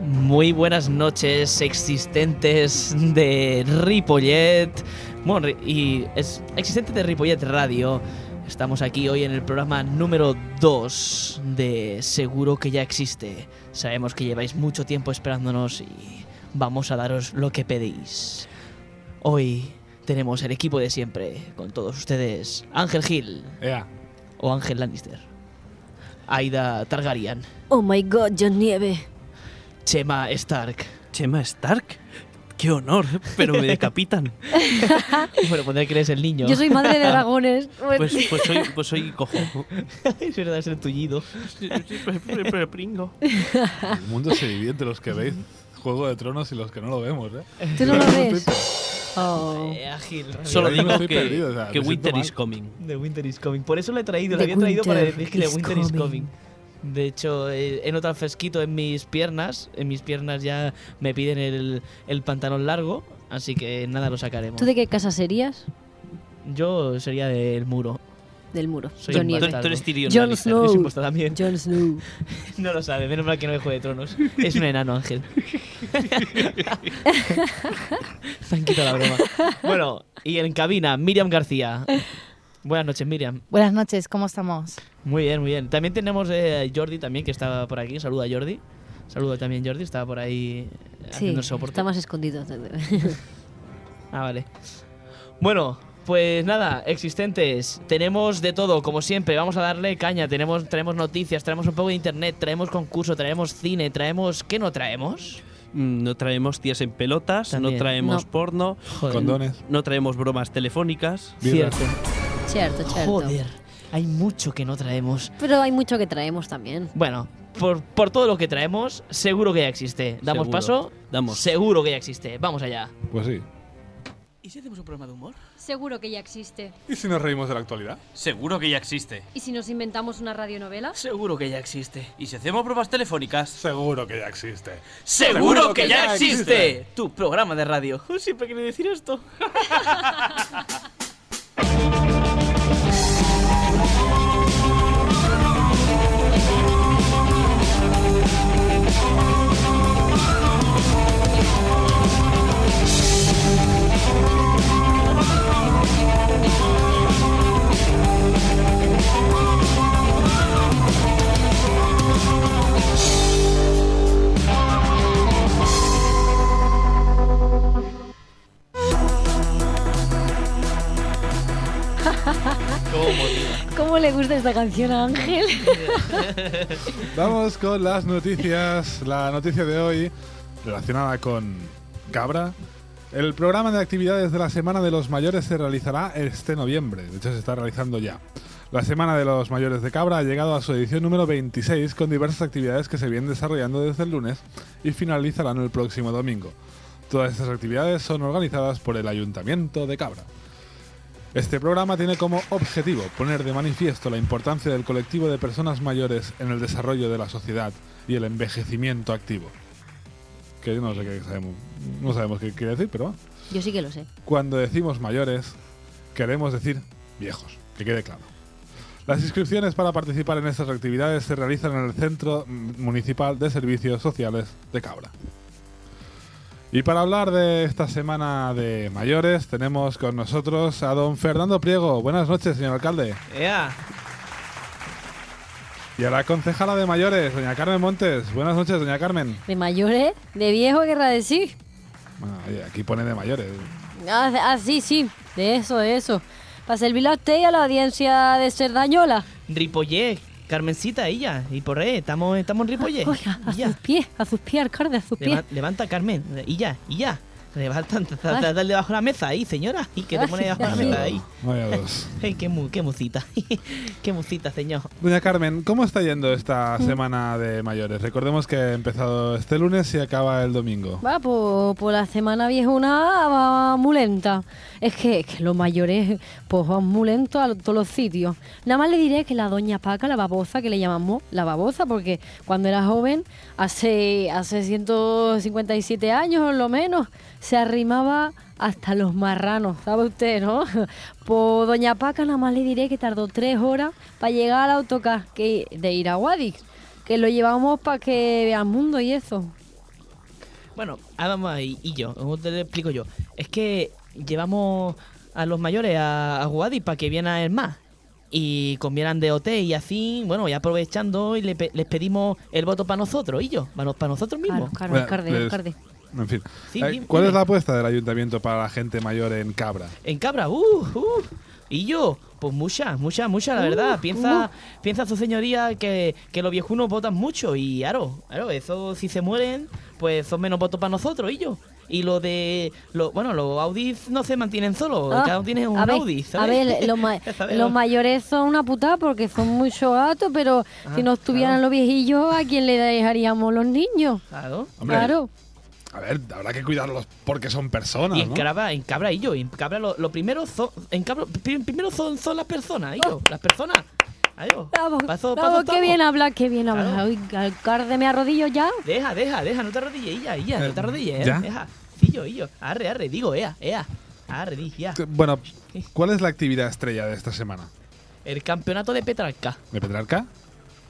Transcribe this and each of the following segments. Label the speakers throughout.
Speaker 1: Muy buenas noches existentes de Ripollet. Bueno, y es existente de Ripollet Radio. Estamos aquí hoy en el programa número 2 de Seguro que ya existe. Sabemos que lleváis mucho tiempo esperándonos y vamos a daros lo que pedís. Hoy tenemos el equipo de siempre con todos ustedes. Ángel Gil
Speaker 2: Ea,
Speaker 1: o Ángel Lannister. Aida Targaryen.
Speaker 3: Oh my god, John Nieve.
Speaker 1: Chema Stark.
Speaker 4: Chema Stark. Qué honor, pero me decapitan.
Speaker 1: Bueno, pondré que eres el niño.
Speaker 3: Yo soy madre de dragones.
Speaker 4: Pues, pues soy, pues soy cojo.
Speaker 1: es verdad, es el tullido.
Speaker 4: Pero pringo.
Speaker 2: el mundo se divide entre los que veis Juego de Tronos y los que no lo vemos, ¿eh?
Speaker 3: ¿Tú no lo ves? Oh.
Speaker 1: Eh, ágil.
Speaker 4: Solo
Speaker 2: Yo no
Speaker 4: digo
Speaker 2: estoy
Speaker 4: que,
Speaker 2: perdido, o sea,
Speaker 4: que
Speaker 2: me siento
Speaker 4: Winter
Speaker 2: mal.
Speaker 4: is coming.
Speaker 1: The Winter is Coming. Por eso lo he traído, lo
Speaker 3: The
Speaker 1: había traído para
Speaker 3: winter
Speaker 1: decir que The
Speaker 3: is
Speaker 1: Winter is
Speaker 3: coming.
Speaker 1: Coming. De hecho, eh, he notado fresquito en mis piernas. En mis piernas ya me piden el, el pantalón largo. Así que nada, lo sacaremos.
Speaker 3: ¿Tú de qué casa serías?
Speaker 1: Yo sería del muro.
Speaker 3: Del muro.
Speaker 1: Soy
Speaker 3: John
Speaker 1: un
Speaker 3: Nieve.
Speaker 1: bastardo.
Speaker 4: Tú eres Tyrion
Speaker 3: Jon
Speaker 4: Lannister.
Speaker 3: Snow.
Speaker 1: Yo
Speaker 3: Oh.
Speaker 1: soy impostor también.
Speaker 3: Jon Snow.
Speaker 1: No lo sabe, menos mal que no me Juego de Tronos. Es un enano, Ángel. Me han quitado la broma. Bueno, y en cabina, Miriam García. Buenas noches, Miriam.
Speaker 5: Buenas noches, ¿cómo estamos?
Speaker 1: Muy bien, muy bien. También tenemos eh, a Jordi también, que estaba por aquí. Saluda a Jordi. Saluda también Jordi, estaba por ahí eh,
Speaker 3: Sí,
Speaker 1: haciendo soporte.
Speaker 3: está más escondido.
Speaker 1: Ah, vale. Bueno, pues nada, existentes. Tenemos de todo, como siempre. Vamos a darle caña. Tenemos, traemos noticias, traemos un poco de internet, traemos concurso, traemos cine, traemos... ¿Qué no traemos?
Speaker 4: Mm, No traemos tías en pelotas,
Speaker 1: También.
Speaker 4: no traemos
Speaker 3: No.
Speaker 4: porno,
Speaker 1: Joder.
Speaker 2: Condones.
Speaker 4: no traemos bromas telefónicas.
Speaker 1: Cierto.
Speaker 3: cierto, cierto.
Speaker 1: Joder. Hay mucho que no traemos.
Speaker 3: Pero hay mucho que traemos también.
Speaker 1: Bueno, por, por todo lo que traemos, seguro que ya existe. ¿Damos
Speaker 4: Seguro.
Speaker 1: paso?
Speaker 4: Damos.
Speaker 1: Seguro que ya existe. Vamos allá.
Speaker 2: Pues sí.
Speaker 6: ¿Y si hacemos un programa de humor?
Speaker 3: Seguro que ya existe.
Speaker 2: ¿Y si nos reímos de la actualidad?
Speaker 6: Seguro que ya existe.
Speaker 3: ¿Y si nos inventamos una radionovela?
Speaker 6: Seguro que ya existe.
Speaker 7: ¿Y si hacemos pruebas telefónicas?
Speaker 2: Seguro que ya existe.
Speaker 7: ¡Seguro que ya
Speaker 6: existe!
Speaker 7: existe! Tu programa de radio.
Speaker 6: Siempre quería decir esto.
Speaker 3: ¿Cómo le gusta esta canción a Ángel?
Speaker 2: Vamos con las noticias. La noticia de hoy relacionada con Cabra. El programa de actividades de la Semana de los Mayores se realizará este noviembre. De hecho, se está realizando ya. La Semana de los Mayores de Cabra ha llegado a su edición número 26 con diversas actividades que se vienen desarrollando desde el lunes y finalizarán el próximo domingo. Todas estas actividades son organizadas por el Ayuntamiento de Cabra. Este programa tiene como objetivo poner de manifiesto la importancia del colectivo de personas mayores en el desarrollo de la sociedad y el envejecimiento activo. Que no sé qué sabemos, no sabemos qué quiere decir, pero bueno.
Speaker 3: Yo sí que lo sé.
Speaker 2: Cuando decimos mayores, queremos decir viejos, que quede claro. Las inscripciones para participar en estas actividades se realizan en el Centro Municipal de Servicios Sociales de Cabra. Y para hablar de esta semana de mayores, tenemos con nosotros a don Fernando Priego. Buenas noches, señor alcalde.
Speaker 1: ¡Ea!
Speaker 2: Y a la concejala de mayores, doña Carmen Montes. Buenas noches, doña Carmen.
Speaker 3: De mayores, de viejo, guerra de sí.
Speaker 2: Bueno, oye, aquí pone de mayores.
Speaker 3: Ah, ah, sí, sí. De eso, de eso. Para servirle a usted y a la audiencia de Cerdañola.
Speaker 1: Ripollé, Carmencita, ella, y por ahí, estamos, estamos en Ripollé.
Speaker 3: Oiga, a
Speaker 1: Illa.
Speaker 3: sus pies, a sus pies, alcalde, a sus pies.
Speaker 1: Leva- levanta, Carmen, y ya, y ya. Levanta, da- da-
Speaker 3: Ay.
Speaker 1: da- dale debajo de la mesa ahí, señora, y que te
Speaker 3: Ay,
Speaker 1: pone debajo de la
Speaker 3: sí.
Speaker 1: mesa ahí.
Speaker 2: Vaya dos.
Speaker 1: Ay, qué, mu- qué musita, qué musita, señor.
Speaker 2: Doña Carmen, ¿cómo está yendo esta semana de mayores? Recordemos que ha empezado este lunes y acaba el domingo.
Speaker 3: Va, pues, pues la semana viejuna va muy lenta. Es que, es que los mayores pues van muy lentos a lo- todos los sitios. Nada más le diré que la doña Paca, la babosa, que le llamamos la babosa, porque cuando era joven, hace, hace 157 años o lo menos, se arrimaba hasta los marranos, ¿sabe usted, no? Pues doña Paca nada más le diré que tardó tres horas para llegar al autocar que, de ir a Guadix, que lo llevamos para que vea el mundo y eso.
Speaker 1: Bueno, Adama y, y yo, ¿cómo te lo explico yo? Es que llevamos a los mayores a, a Guadi para que vienen el más. Y convieran de OT y así, bueno, y aprovechando y le pe- les pedimos el voto para nosotros, y yo, para, nosotros mismos.
Speaker 3: Claro, claro,
Speaker 2: Bueno,
Speaker 3: Cardi,
Speaker 2: pues-
Speaker 3: Cardi.
Speaker 2: En fin.
Speaker 1: Sí,
Speaker 2: Eh,
Speaker 1: dime,
Speaker 2: ¿Cuál es
Speaker 1: dime.
Speaker 2: la apuesta del ayuntamiento para la gente mayor en Cabra?
Speaker 1: En Cabra, uh, uh. Y yo, pues mucha, mucha, mucha, la
Speaker 3: Uh,
Speaker 1: verdad. Piensa, piensa su señoría que, que los viejunos votan mucho y claro, claro, eso si se mueren, pues son menos votos para nosotros y yo. Y lo de, lo, bueno, los Audis no se mantienen solos,
Speaker 3: Ah,
Speaker 1: oh, cada uno tiene un
Speaker 3: a ver,
Speaker 1: Audi,
Speaker 3: A
Speaker 1: ¿sabes?
Speaker 3: ver, los, ma-
Speaker 1: Ya sabes,
Speaker 3: los
Speaker 1: ¿no?
Speaker 3: mayores son una putada porque son muchos gatos,
Speaker 1: Ah,
Speaker 3: pero si no estuvieran los viejillos, ¿a quién le dejaríamos los niños?
Speaker 1: Claro.
Speaker 2: Hombre,
Speaker 3: Claro.
Speaker 2: A ver, habrá que cuidarlos porque son personas.
Speaker 1: Y en
Speaker 2: ¿no?
Speaker 1: Cabra, en Cabra y yo, en Cabra lo, lo primero son, en Cabra, pri- primero son, son las personas, y yo, las personas. Adiós.
Speaker 3: Bravo,
Speaker 1: Paso-
Speaker 3: bravo,
Speaker 1: paso
Speaker 3: qué
Speaker 1: estamos.
Speaker 3: bien habla, qué bien
Speaker 1: Claro.
Speaker 3: habla. Uy, alcalde, me arrodillo ya.
Speaker 1: Deja, deja, deja, no te arrodilles, Illa, Illa,
Speaker 2: Eh,
Speaker 1: no te arrodilles, eh,
Speaker 2: ¿ya?
Speaker 1: deja. Illo, Illo, arre, arre, digo, ea, ea, arre, di, ya.
Speaker 2: T- Eh, Bueno, ¿cuál es la actividad estrella de esta semana?
Speaker 1: El campeonato de Petrarca,
Speaker 2: ¿De Petrarca?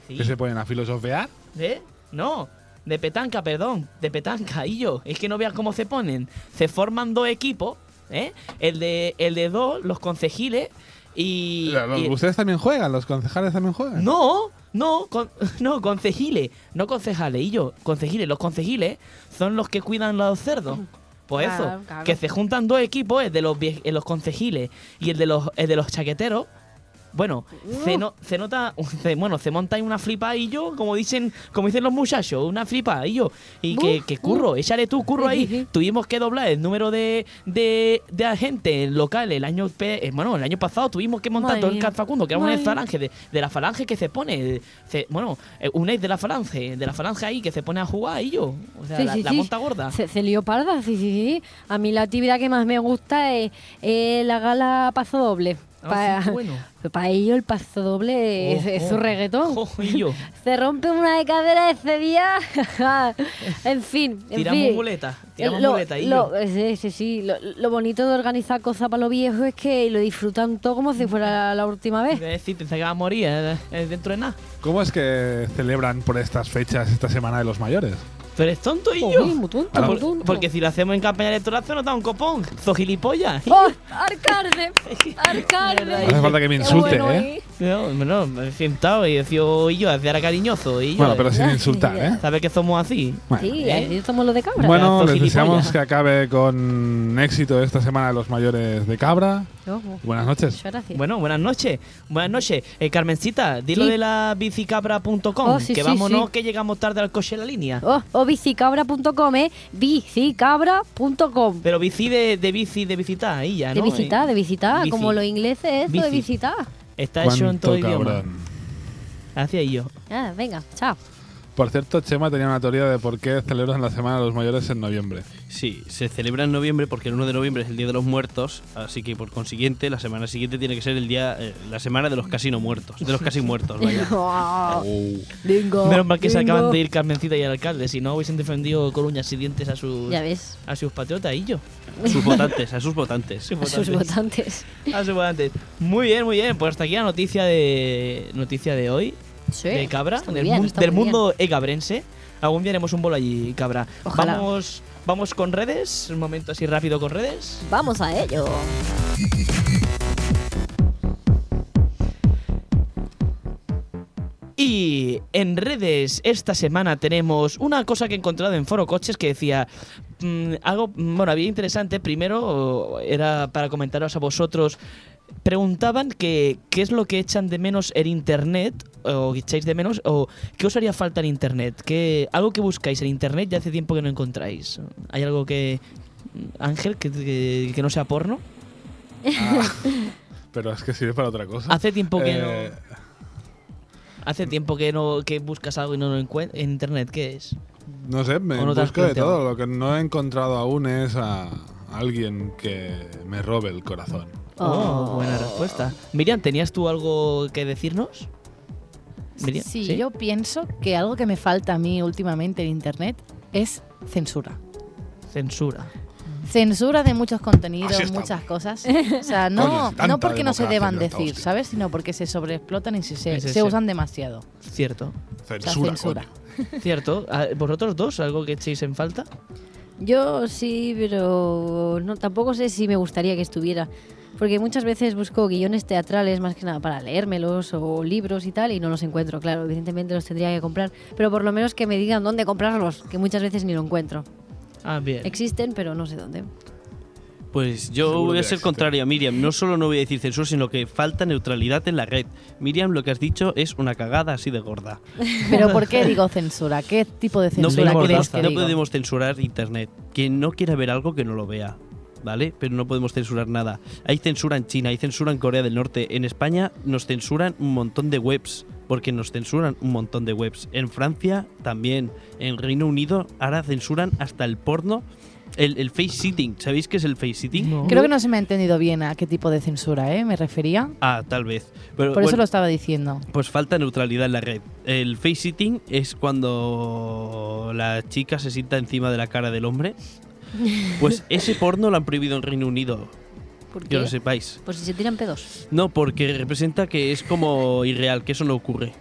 Speaker 1: ¿sí?
Speaker 2: ¿Que se ponen a filosofear?
Speaker 1: ¿Eh? No, de Petanca, perdón, de Petanca, Illo, es que no veas cómo se ponen. Se forman dos equipos, ¿eh? El de, el de dos, los concejiles y...
Speaker 2: La- los-
Speaker 1: y-
Speaker 2: Eh, ¿Ustedes también juegan? ¿Los concejales también juegan?
Speaker 1: No, no, con- no, concejiles, no concejales, y yo, concejiles, los concejiles son los que cuidan los cerdos. Pues eso,
Speaker 3: Claro, claro.
Speaker 1: que se juntan dos equipos, el de los, vie- el de los concejiles y el de los, el de los chaqueteros. Bueno, se, no- se nota, se- bueno, se monta ahí una flipa y yo, como dicen, como dicen los muchachos, una flipa y yo. Y que,
Speaker 3: Buf,
Speaker 1: que curro, échale tú curro ahí. Tuvimos que doblar el número de, de, de agentes locales el año, pe- eh, bueno, el año pasado tuvimos que montar
Speaker 3: Madre
Speaker 1: todo el
Speaker 3: mía.
Speaker 1: Cat Facundo, que era una
Speaker 3: Madre mía.
Speaker 1: falange, de, de la falange que se pone, se- bueno, eh, un ex de la falange, de la falange ahí que se pone a jugar y yo. O sea,
Speaker 3: Sí,
Speaker 1: la,
Speaker 3: sí,
Speaker 1: la
Speaker 3: sí.
Speaker 1: monta gorda.
Speaker 3: Se, se lió parda, sí, sí, sí. A mí la actividad que más me gusta es eh, la gala paso doble.
Speaker 1: Ah,
Speaker 3: Para
Speaker 1: sí, qué bueno.
Speaker 3: ello el paso doble es,
Speaker 1: Oh,
Speaker 3: es
Speaker 1: oh.
Speaker 3: su reggaetón.
Speaker 1: Jo, y yo.
Speaker 3: Se rompe una de cadera ese día. en fin, en
Speaker 1: Tiramos
Speaker 3: fin.
Speaker 1: muleta, tiramos
Speaker 3: Eh, lo,
Speaker 1: muleta y
Speaker 3: lo-
Speaker 1: yo.
Speaker 3: eh, sí, sí, sí. Lo, lo bonito de organizar cosas para los viejos es que lo disfrutan todo como si fuera la, la última vez.
Speaker 1: Es decir, pensaba que iba a morir eh, eh, dentro de nada.
Speaker 2: ¿Cómo es que celebran por estas fechas esta semana de los mayores?
Speaker 1: Tú eres tonto y
Speaker 3: Uy,
Speaker 1: yo.
Speaker 3: muy tonto,
Speaker 1: Por-
Speaker 3: muy tonto.
Speaker 1: porque si lo hacemos en campaña electoral se nos da un copón. Sos gilipollas.
Speaker 3: ¡Oh! ¡Arcarde! ¡Arcarde!
Speaker 1: Hace
Speaker 2: falta que me
Speaker 3: Qué
Speaker 2: insulte,
Speaker 3: bueno,
Speaker 2: ¿eh?
Speaker 1: No, no, me he sentado y decía y yo, hacía ahora cariñoso y yo.
Speaker 2: Bueno, pero sin
Speaker 3: Ay,
Speaker 2: insultar,
Speaker 3: ya.
Speaker 2: ¿eh?
Speaker 1: Sabes que somos así.
Speaker 2: Bueno.
Speaker 3: Sí,
Speaker 1: ¿eh?
Speaker 3: así somos los de cabra.
Speaker 2: Bueno,
Speaker 1: Pedazo
Speaker 2: les deseamos
Speaker 1: gilipollas.
Speaker 2: que acabe con éxito esta semana de los mayores de Cabra.
Speaker 3: Ojo.
Speaker 2: Buenas noches.
Speaker 3: Muchas gracias.
Speaker 1: Bueno, buenas noches. Buenas noches. Eh, Carmencita, dilo
Speaker 3: Sí.
Speaker 1: de la bicicabra.com.
Speaker 3: Oh, sí,
Speaker 1: que
Speaker 3: sí,
Speaker 1: vámonos
Speaker 3: sí.
Speaker 1: que llegamos tarde al coche en la línea.
Speaker 3: Oh, o bicicabra.com, ¿eh? Bicicabra.com.
Speaker 1: Pero bici de, de bici, de visitar, ahí ya,
Speaker 3: De
Speaker 1: ¿no?
Speaker 3: visitar, de visitar,
Speaker 1: eh, Bici.
Speaker 3: como los ingleses, eso de
Speaker 1: Bici.
Speaker 3: visitar.
Speaker 1: Eh, Está hecho en todo
Speaker 2: ¿Cuánto
Speaker 1: idioma.
Speaker 2: cabrón?
Speaker 1: Hacia yo.
Speaker 3: Ah, venga, chao.
Speaker 2: Por cierto, Chema tenía una teoría de por qué celebran la semana de los mayores en noviembre.
Speaker 4: Sí, se celebra en noviembre porque el 1 de noviembre es el Día de los Muertos, así que por consiguiente la semana siguiente tiene que ser el día, eh, la semana de los casi no muertos, de los casi muertos, vaya.
Speaker 3: Bingo.
Speaker 1: Menos mal que se
Speaker 3: bingo.
Speaker 1: acaban de ir Carmencita y el alcalde, si no hubiesen defendido Coruñas y dientes a sus,
Speaker 3: Ya ves,
Speaker 1: a sus patriotas y yo.
Speaker 4: Sus votantes, a sus votantes.
Speaker 1: Sus
Speaker 3: a sus
Speaker 1: votantes.
Speaker 3: votantes.
Speaker 1: A sus votantes. Muy bien, muy bien. Pues hasta aquí la noticia de noticia de hoy.
Speaker 3: Sí,
Speaker 1: de Cabra,
Speaker 3: está muy
Speaker 1: del,
Speaker 3: bien,
Speaker 1: mun-
Speaker 3: está
Speaker 1: del
Speaker 3: muy bien.
Speaker 1: mundo egabrense. Algún día haremos un bolo allí, Cabra.
Speaker 3: Ojalá.
Speaker 1: Vamos, vamos con redes, un momento así rápido con redes.
Speaker 3: Vamos a ello.
Speaker 1: Y en redes esta semana tenemos una cosa que he encontrado en Foro Coches que decía mm, algo, mm, bueno, había interesante. Primero era para comentaros a vosotros. Preguntaban que qué es lo que echan de menos en internet o que echáis de menos o qué os haría falta en internet, que algo que buscáis en internet ya hace tiempo que no encontráis. Hay algo que mm, Ángel que, que- que no sea porno.
Speaker 2: Pero es que sirve para otra cosa.
Speaker 1: Hace tiempo que
Speaker 2: Eh,
Speaker 1: no, hace tiempo que no que buscas algo y no lo encuentras en internet. ¿Qué es?
Speaker 2: No sé, me
Speaker 1: ¿O no te has
Speaker 2: busco de
Speaker 1: planteado?
Speaker 2: todo. Lo que no he encontrado aún es a alguien que me robe el corazón.
Speaker 1: Oh, buena respuesta. Miriam, ¿tenías tú algo que decirnos? Miriam,
Speaker 5: Sí, yo pienso que algo que me falta a mí últimamente en Internet es censura.
Speaker 1: Censura.
Speaker 5: Censura de muchos contenidos,
Speaker 2: Así está.
Speaker 5: muchas cosas. O sea,
Speaker 2: Coño,
Speaker 5: no,
Speaker 2: si tanta
Speaker 5: no porque no se
Speaker 2: democracia
Speaker 5: deban
Speaker 2: en esta
Speaker 5: decir,
Speaker 2: hostia.
Speaker 5: ¿sabes? Sino porque se sobreexplotan y se, se-
Speaker 1: Ese,
Speaker 5: se
Speaker 1: ese.
Speaker 5: usan demasiado.
Speaker 1: Cierto.
Speaker 5: O sea,
Speaker 2: Censura,
Speaker 5: censura.
Speaker 2: coño.
Speaker 1: Cierto. Ah, ¿Vosotros dos algo que echéis en falta?
Speaker 3: Yo sí, pero no, tampoco sé si me gustaría que estuviera. Porque muchas veces busco guiones teatrales más que nada para leérmelos o libros y tal y no los encuentro. Claro, evidentemente los tendría que comprar. Pero por lo menos que me digan dónde comprarlos, que muchas veces ni lo encuentro.
Speaker 1: Ah, bien.
Speaker 3: Existen, pero no sé dónde.
Speaker 4: Pues yo
Speaker 2: Seguro
Speaker 4: voy a
Speaker 2: que
Speaker 4: ser
Speaker 2: existe.
Speaker 4: contrario a Miriam. No solo no voy a decir censura, sino que falta neutralidad en la red. Miriam, lo que has dicho es una cagada así de gorda.
Speaker 5: Pero ¿por qué digo censura? ¿Qué tipo de
Speaker 4: No,
Speaker 5: censura
Speaker 4: podemos-
Speaker 5: crees que
Speaker 4: no
Speaker 5: digo?
Speaker 4: podemos censurar Internet. Quien no quiera ver algo, que no lo vea. ¿Vale? Pero no podemos censurar nada. Hay censura en China, hay censura en Corea del Norte. En España nos censuran un montón de webs. Porque nos censuran un montón de webs. En Francia también. En Reino Unido ahora censuran hasta el porno. El, el face sitting. ¿Sabéis qué es el face sitting?
Speaker 5: Creo que no se me ha entendido bien a qué tipo de censura ¿eh? me refería.
Speaker 4: Ah, tal vez. Pero,
Speaker 5: Por eso
Speaker 4: bueno,
Speaker 5: lo estaba diciendo.
Speaker 4: Pues falta neutralidad en la red. El face sitting es cuando la chica se sienta encima de la cara del hombre. Pues ese porno lo han prohibido en Reino Unido,
Speaker 3: ¿Por
Speaker 4: que
Speaker 3: qué?
Speaker 4: lo sepáis.
Speaker 3: Pues si se tiran pedos.
Speaker 4: No, porque representa que es como irreal, que eso no ocurre.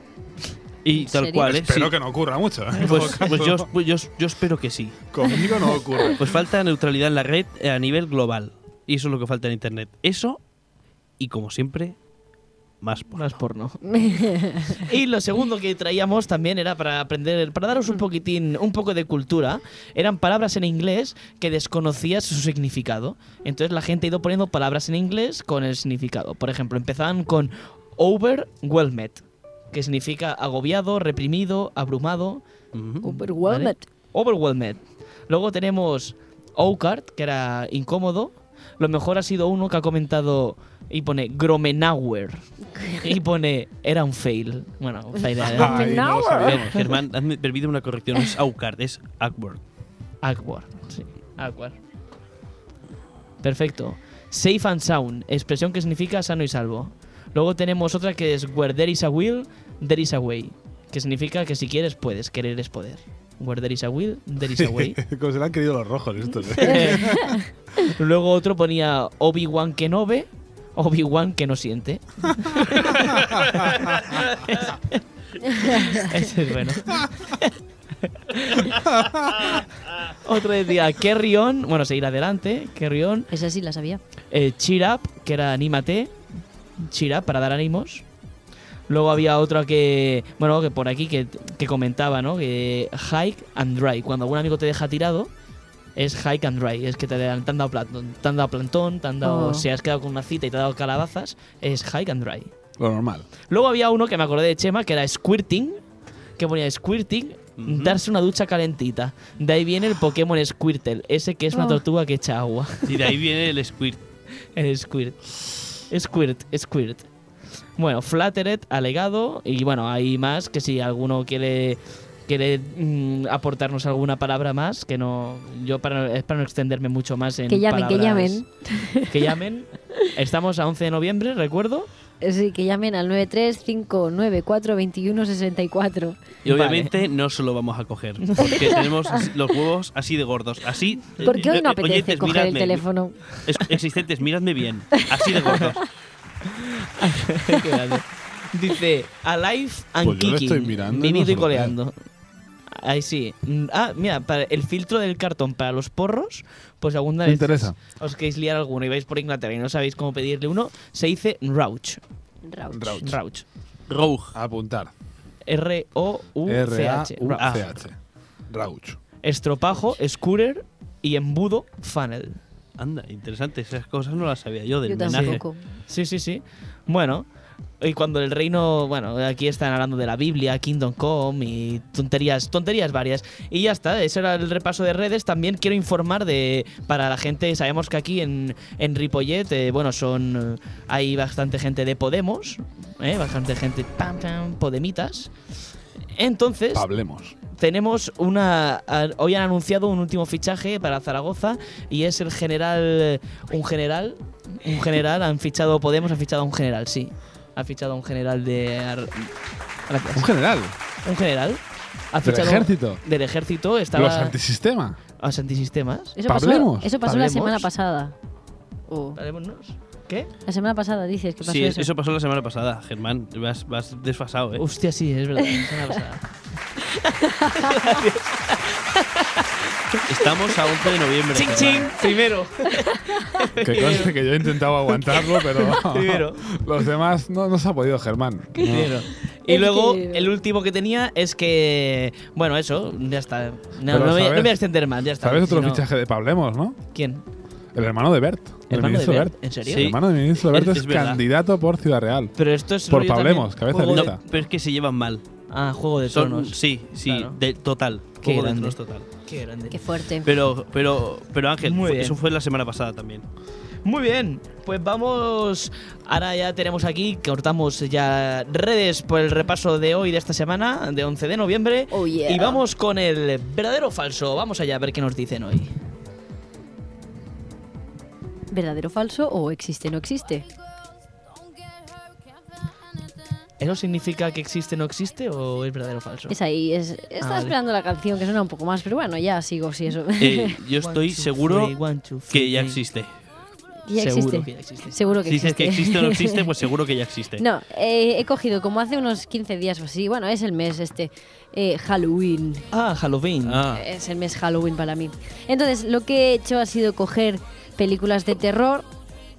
Speaker 4: Y
Speaker 3: ¿En
Speaker 4: tal
Speaker 3: serio?
Speaker 4: cual, ¿eh?
Speaker 2: Espero
Speaker 4: Sí.
Speaker 2: que no ocurra mucho. en todo
Speaker 4: Pues,
Speaker 2: caso.
Speaker 4: pues yo, pues yo- yo espero que sí.
Speaker 2: Conmigo no ocurre.
Speaker 4: Pues falta neutralidad en la red eh, a nivel global. Y eso es lo que falta en Internet. Eso, y como siempre, más porno.
Speaker 1: Más porno. y lo segundo que traíamos también era para aprender, para daros un poquitín, un poco de cultura. Eran palabras en inglés que desconocías su significado. Entonces la gente ha ido poniendo palabras en inglés con el significado. Por ejemplo, empezaban con overwhelmed, que significa agobiado, reprimido, abrumado.
Speaker 4: Ujú.
Speaker 3: Overwhelmed.
Speaker 1: Overwhelmed. Luego tenemos Oakart, que era incómodo. Lo mejor ha sido uno que ha comentado y pone Gromenauer. Y pone era un fail. Bueno, un fail era
Speaker 2: Ay, no lo
Speaker 4: Ger-
Speaker 2: sabíamos.
Speaker 4: Germán, hazme, permíteme una corrección. No es Aukard, es Awkward.
Speaker 1: awkward. Sí, awkward. Perfecto. Safe and sound, expresión que significa sano y salvo. Luego tenemos otra que es Where there is a will, there is a way. Que significa que si quieres, puedes. Querer es poder. Where there is a will, there is a way.
Speaker 2: Como se le han querido los rojos estos. ¿eh?
Speaker 1: Luego otro ponía Obi-Wan que no ve, Obi-Wan que no siente. Ese es bueno. otro decía Carry On, bueno, seguir adelante, Carry On.
Speaker 3: Esa sí la sabía.
Speaker 1: Eh, cheer Up, que era Anímate. Cheer Up, para dar ánimos. Luego había otra que, bueno, que por aquí que, que comentaba, ¿no? Que hike and dry. Cuando algún amigo te deja tirado, es hike and dry. Es que te, han- te han dado plantón, te han dado, plantón, te han dado-
Speaker 3: Oh.
Speaker 1: si has quedado con una cita y te ha dado calabazas, es hike and dry.
Speaker 2: Lo normal.
Speaker 1: Luego había uno que me acordé de Chema, que era squirting, que ponía squirting, darse una ducha calentita. De ahí viene el Pokémon Squirtle, ese que es una
Speaker 3: Oh.
Speaker 1: tortuga que echa agua.
Speaker 4: Y de ahí viene el squirt.
Speaker 1: El Squirt. Squirt, Squirt. Bueno, Flattered, alegado. Y bueno, hay más que si alguno quiere quiere mm, aportarnos alguna palabra más que no yo para es para no extenderme mucho más en
Speaker 3: Que llamen, que
Speaker 1: palabras-
Speaker 3: llamen.
Speaker 1: que llamen estamos a 11 de noviembre recuerdo
Speaker 3: Eh, Sí, que llamen al 935942164.
Speaker 4: Y obviamente no se lo vamos a coger. Porque tenemos los huevos así de gordos. Así.
Speaker 3: ¿Por qué hoy no
Speaker 4: eh,
Speaker 3: apetece
Speaker 4: oyentes,
Speaker 3: coger
Speaker 4: miradme.
Speaker 3: el teléfono?
Speaker 4: Es- existentes, miradme bien. Así de gordos.
Speaker 1: Qué grande. dice alive and
Speaker 2: Pues yo lo
Speaker 1: kicking
Speaker 2: estoy mirando y no
Speaker 1: vivido
Speaker 2: sé
Speaker 1: y
Speaker 2: lo que es.
Speaker 1: coleando ahí sí Mm, ah mira para el filtro del cartón para los porros pues alguna
Speaker 2: Me
Speaker 1: vez
Speaker 2: interesa.
Speaker 1: os queréis liar alguno y vais por Inglaterra y no sabéis cómo pedirle uno, se dice Rouch.
Speaker 3: Rauch.
Speaker 2: Rauch.
Speaker 1: Rouch.
Speaker 4: Rogue.
Speaker 2: Apuntar.
Speaker 1: R-O-U-C-H. Rouch.
Speaker 2: R-A-U-C-H. Rauch.
Speaker 1: Ah, Estropajo, scooter y embudo, funnel.
Speaker 4: Anda, interesante. Esas cosas no las sabía yo del
Speaker 3: Yo
Speaker 4: menaje.
Speaker 3: tampoco.
Speaker 1: Sí, sí, sí. Bueno, y cuando el reino, bueno, aquí están hablando de la Biblia, Kingdom Come y tonterías, tonterías varias. Y ya está, ese era el repaso de redes. También quiero informar de para la gente, sabemos que aquí en, en Ripollet, eh, bueno, son eh, hay bastante gente de Podemos, eh, bastante gente pam, pam, podemitas. Entonces,
Speaker 2: Hablemos.
Speaker 1: tenemos una. a- Hoy han anunciado un último fichaje para Zaragoza y es el general. Un general. Un general. Han fichado Podemos, han fichado a un general, sí. Ha fichado a un general de. ar-
Speaker 2: Un
Speaker 1: Gracias.
Speaker 2: general.
Speaker 1: Un general. Ha
Speaker 2: Del
Speaker 1: fichado-
Speaker 2: ejército.
Speaker 1: Del ejército. Estaba.
Speaker 2: Los antisistema.
Speaker 1: a los antisistemas.
Speaker 3: Eso pasó,
Speaker 2: Pablemos.
Speaker 3: eso pasó la
Speaker 1: Pablemos.
Speaker 3: semana pasada. Oh,
Speaker 1: Parémonos. ¿Qué?
Speaker 2: ¿Eh?
Speaker 3: La semana pasada dices que pasó
Speaker 4: Sí,
Speaker 3: eso.
Speaker 4: eso pasó la semana pasada, Germán. Vas, vas desfasado, ¿eh?
Speaker 1: Hostia, sí, es verdad. es una pasada.
Speaker 4: Estamos a 11 de noviembre.
Speaker 1: ¡Ching, ching! Primero.
Speaker 2: Que conste que yo he intentado aguantarlo, pero
Speaker 1: Primero.
Speaker 2: los demás no, no se ha podido, Germán.
Speaker 1: Primero. Y
Speaker 3: Es
Speaker 1: luego,
Speaker 3: que-
Speaker 1: el último que tenía es que. Bueno, eso, ya está. No,
Speaker 2: Pero
Speaker 1: no voy, a- no
Speaker 2: ¿sabes?
Speaker 1: voy a extender más, ya está.
Speaker 2: ¿Sabes otro
Speaker 1: Si no-
Speaker 2: fichaje de Pablemos, no?
Speaker 1: ¿Quién?
Speaker 2: El hermano de Bert. El,
Speaker 1: hermano de
Speaker 2: ministro
Speaker 1: Bert?
Speaker 2: Bert.
Speaker 1: ¿En serio?
Speaker 2: El
Speaker 4: Sí.
Speaker 2: hermano del ministro Bert es,
Speaker 4: Es- es verdad.
Speaker 2: candidato por Ciudad Real.
Speaker 1: Pero esto es.
Speaker 2: Por
Speaker 1: rollo
Speaker 2: Pablemos,
Speaker 1: también
Speaker 2: cabeza
Speaker 1: juego
Speaker 2: lista.
Speaker 1: de,
Speaker 4: No, pero es que se llevan mal.
Speaker 1: Ah, juego de
Speaker 4: Son-
Speaker 1: tronos.
Speaker 4: sí, sí,
Speaker 1: Claro.
Speaker 4: de- total.
Speaker 1: Qué
Speaker 4: Juego de
Speaker 1: grande.
Speaker 4: Tronos total.
Speaker 1: Qué grande.
Speaker 3: Qué fuerte.
Speaker 4: Pero, pero, pero Ángel,
Speaker 1: Muy
Speaker 4: fue-
Speaker 1: bien.
Speaker 4: eso fue la semana pasada también.
Speaker 1: Muy bien, pues vamos. Ahora ya tenemos aquí, cortamos ya redes por el repaso de hoy, de esta semana, de 11 de noviembre.
Speaker 3: Oh, yeah.
Speaker 1: Y vamos con el verdadero o falso. Vamos allá a ver qué nos dicen hoy.
Speaker 3: ¿Verdadero o falso o existe no existe?
Speaker 1: ¿Eso significa que existe no existe o es verdadero o falso?
Speaker 3: Es ahí, es, estaba
Speaker 1: vale.
Speaker 3: esperando la canción que suena un poco más, pero bueno, ya sigo si eso.
Speaker 4: Ah, Eh, yo
Speaker 1: One,
Speaker 4: estoy
Speaker 1: two,
Speaker 4: seguro
Speaker 1: three, one, two,
Speaker 4: que ya
Speaker 1: three.
Speaker 4: existe.
Speaker 3: ya
Speaker 1: Seguro
Speaker 3: existe.
Speaker 1: que ya existe.
Speaker 3: Seguro que
Speaker 4: Si dices
Speaker 3: existe.
Speaker 4: que existe o no existe, pues seguro que ya existe.
Speaker 3: No, eh, he cogido como hace unos 15 días o así, bueno, es el mes este, eh, Halloween.
Speaker 1: Ah, Halloween.
Speaker 4: Ah,
Speaker 3: Es el mes Halloween para mí. Entonces, lo que he hecho ha sido coger películas de terror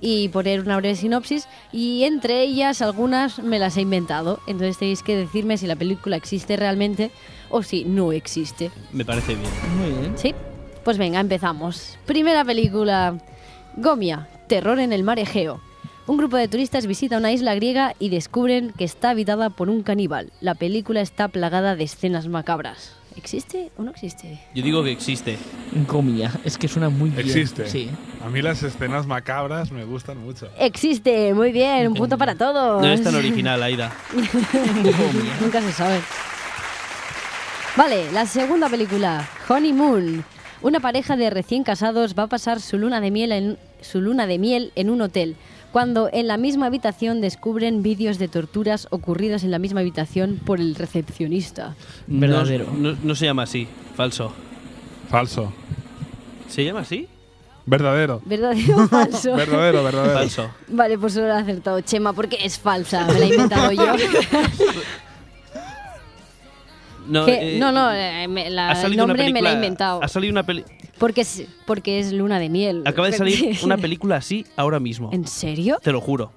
Speaker 3: y poner una breve sinopsis y entre ellas algunas me las he inventado. Entonces tenéis que decirme si la película existe realmente o si no existe.
Speaker 4: me parece bien.
Speaker 1: Muy bien.
Speaker 3: ¿Sí? Pues venga, empezamos. Primera película. Gomia, Terror en el mar Egeo. Un grupo de turistas visita una isla griega y descubren que está habitada por un caníbal. La película está plagada de escenas macabras. ¿Existe o no existe?
Speaker 4: Yo digo que existe.
Speaker 1: Gomia. Es que suena muy bien.
Speaker 2: Existe.
Speaker 1: Sí.
Speaker 2: A mí las escenas macabras me gustan mucho.
Speaker 3: Existe, muy bien, un punto para todos.
Speaker 4: No es tan original, Aida.
Speaker 3: Nunca se sabe. Vale, la segunda película, Honeymoon. Una pareja de recién casados va a pasar su luna de miel en su luna de miel en un hotel, cuando en la misma habitación descubren vídeos de torturas ocurridas en la misma habitación por el recepcionista.
Speaker 4: No-
Speaker 1: Verdadero.
Speaker 4: No, no se llama así. Falso.
Speaker 2: Falso.
Speaker 4: ¿Se llama así?
Speaker 2: Verdadero.
Speaker 3: ¿Verdadero o falso?
Speaker 2: Verdadero, verdadero.
Speaker 4: Falso.
Speaker 3: Vale, pues solo lo he acertado Chema porque es falsa, me la he inventado yo.
Speaker 4: No,
Speaker 3: Que-
Speaker 4: eh,
Speaker 3: no, no, eh, me- la-
Speaker 4: ha
Speaker 3: el
Speaker 4: salido una
Speaker 3: nombre me la
Speaker 4: película-
Speaker 3: he inventado.
Speaker 4: Ha salido una peli
Speaker 3: Porque es, porque es luna de miel.
Speaker 4: Acaba de salir una película así ahora mismo.
Speaker 3: ¿En serio?
Speaker 4: Te lo juro.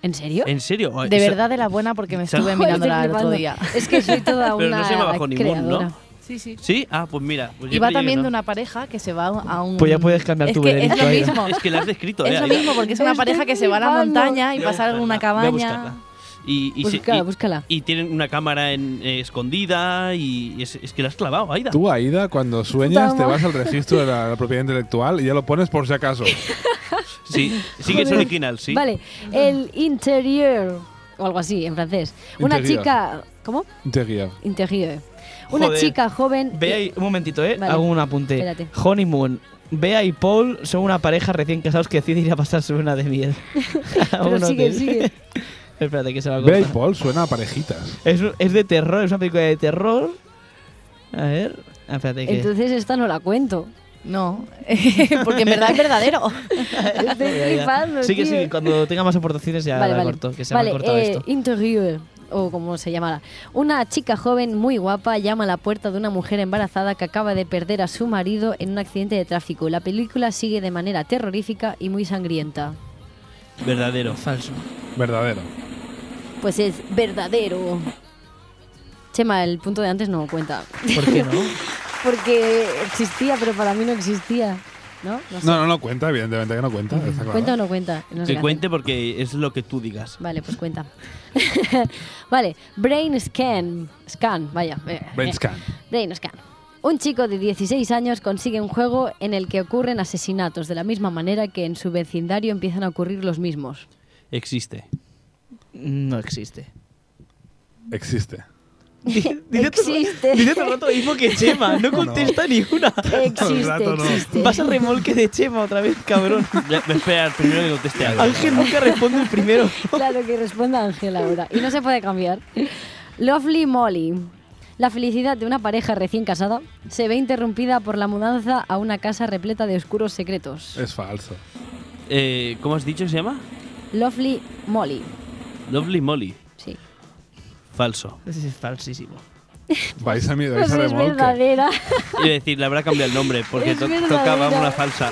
Speaker 3: ¿En serio?
Speaker 4: ¿En serio?
Speaker 5: De
Speaker 4: Eso-
Speaker 5: verdad de la buena porque me
Speaker 4: Joder,
Speaker 5: estuve mirándola el otro día.
Speaker 3: Es que soy toda
Speaker 4: Pero
Speaker 3: una
Speaker 4: no se llama Honeymoon,
Speaker 3: creadora.
Speaker 4: ¿no?
Speaker 5: Sí, sí.
Speaker 4: Sí, ah, pues mira. pues yo
Speaker 5: Y
Speaker 4: creía
Speaker 5: va
Speaker 4: que
Speaker 5: también
Speaker 4: no.
Speaker 5: de una pareja que se va a un...
Speaker 1: Pues ya puedes cambiar
Speaker 5: es
Speaker 1: tu
Speaker 5: que
Speaker 1: veredicto,
Speaker 5: Es lo
Speaker 1: Aida.
Speaker 5: mismo.
Speaker 4: Es que la has descrito,
Speaker 5: Es
Speaker 4: eh,
Speaker 5: lo
Speaker 4: Aida.
Speaker 5: mismo porque es una
Speaker 3: Estoy
Speaker 5: pareja que se va a la
Speaker 3: flipando.
Speaker 5: montaña y
Speaker 4: Voy a
Speaker 5: pasa a alguna
Speaker 4: buscarla, voy a
Speaker 5: cabaña.
Speaker 4: buscarla. Y, y se-
Speaker 3: Búscala,
Speaker 4: y-
Speaker 3: búscala.
Speaker 4: y tienen una cámara en- eh, escondida y es, es que la has clavado, Aida.
Speaker 2: Tú, Aida, cuando sueñas, te
Speaker 3: madre.
Speaker 2: vas al registro de la, la propiedad intelectual y ya lo pones por si acaso.
Speaker 4: Sí, sí que es
Speaker 3: Joder.
Speaker 4: original, sí.
Speaker 3: Vale, el interior o algo así en francés. Una
Speaker 2: Interior.
Speaker 3: chica, ¿cómo?
Speaker 2: Te guía.
Speaker 3: Interior. Una
Speaker 1: Joder.
Speaker 3: chica joven.
Speaker 1: Bea y, un momentito, ¿eh?
Speaker 3: Vale.
Speaker 1: Hago un apunte.
Speaker 3: Espérate.
Speaker 1: Honeymoon. Bea y Paul son una pareja recién casados que deciden ir a pasar su luna de miel. A
Speaker 3: Pero
Speaker 1: un
Speaker 3: sigue,
Speaker 1: hotel.
Speaker 3: sigue.
Speaker 1: Espérate, que se va a
Speaker 2: Bea y
Speaker 1: cortar.
Speaker 2: Paul suena a parejitas.
Speaker 1: Es, es de terror, es una película de terror. A ver. ah, Espérate, que.
Speaker 3: eh, Entonces esta no la cuento.
Speaker 5: No, porque en verdad es verdadero.
Speaker 3: Estoy
Speaker 1: Ya, ya.
Speaker 3: flipando.
Speaker 1: Sí, que
Speaker 3: tío.
Speaker 1: sí, cuando tenga más aportaciones ya
Speaker 3: vale,
Speaker 1: la
Speaker 3: vale.
Speaker 1: corto, que se me
Speaker 3: vale,
Speaker 1: ha cortado
Speaker 3: eh,
Speaker 1: esto.
Speaker 3: interior, o como se llamara. Una chica joven muy guapa llama a la puerta de una mujer embarazada que acaba de perder a su marido en un accidente de tráfico. La película sigue de manera terrorífica y muy sangrienta.
Speaker 4: Verdadero.
Speaker 1: Falso.
Speaker 2: Verdadero.
Speaker 3: Pues es verdadero. Chema, el punto de antes no cuenta.
Speaker 1: ¿Por qué no?
Speaker 3: Porque existía, pero para mí no existía. ¿No? No sé.
Speaker 2: No, no, no cuenta, evidentemente que no cuenta. está claro.
Speaker 3: ¿Cuenta o no cuenta? No sé qué
Speaker 4: Que
Speaker 3: hacer.
Speaker 4: cuente porque es lo que tú digas.
Speaker 3: Vale, pues cuenta. vale, Brain Scan. Scan, vaya. eh,
Speaker 2: Brain
Speaker 3: eh.
Speaker 2: scan.
Speaker 3: Brain Scan. Un chico de 16 años consigue un juego en el que ocurren asesinatos, de la misma manera que en su vecindario empiezan a ocurrir los mismos.
Speaker 4: Existe.
Speaker 1: No existe.
Speaker 2: Existe.
Speaker 1: Dice,
Speaker 3: Existe.
Speaker 1: Todo, dice todo el rato lo mismo que Chema, no contesta ni una.
Speaker 3: Existe,
Speaker 2: rato no.
Speaker 3: existe.
Speaker 1: Vas al remolque de Chema otra vez, cabrón.
Speaker 4: Ya, me espera el primero que conteste algo.
Speaker 1: Ángel nunca responde el primero.
Speaker 3: Claro que responda Ángel ahora. Y no se puede cambiar. Lovely Molly. La felicidad de una pareja recién casada se ve interrumpida por la mudanza a una casa repleta de oscuros secretos.
Speaker 2: Es falso.
Speaker 4: Eh, ¿Cómo has dicho se llama?
Speaker 3: Lovely Molly.
Speaker 4: Lovely Molly.
Speaker 3: Sí.
Speaker 4: Falso.
Speaker 1: Es falsísimo.
Speaker 2: Vais a mí, vais
Speaker 3: Pues
Speaker 2: a
Speaker 3: es
Speaker 2: remolque.
Speaker 3: verdadera.
Speaker 4: Y decir, le habrá cambiado el nombre porque
Speaker 3: Es
Speaker 4: to-
Speaker 3: verdadera.
Speaker 4: tocaba una falsa.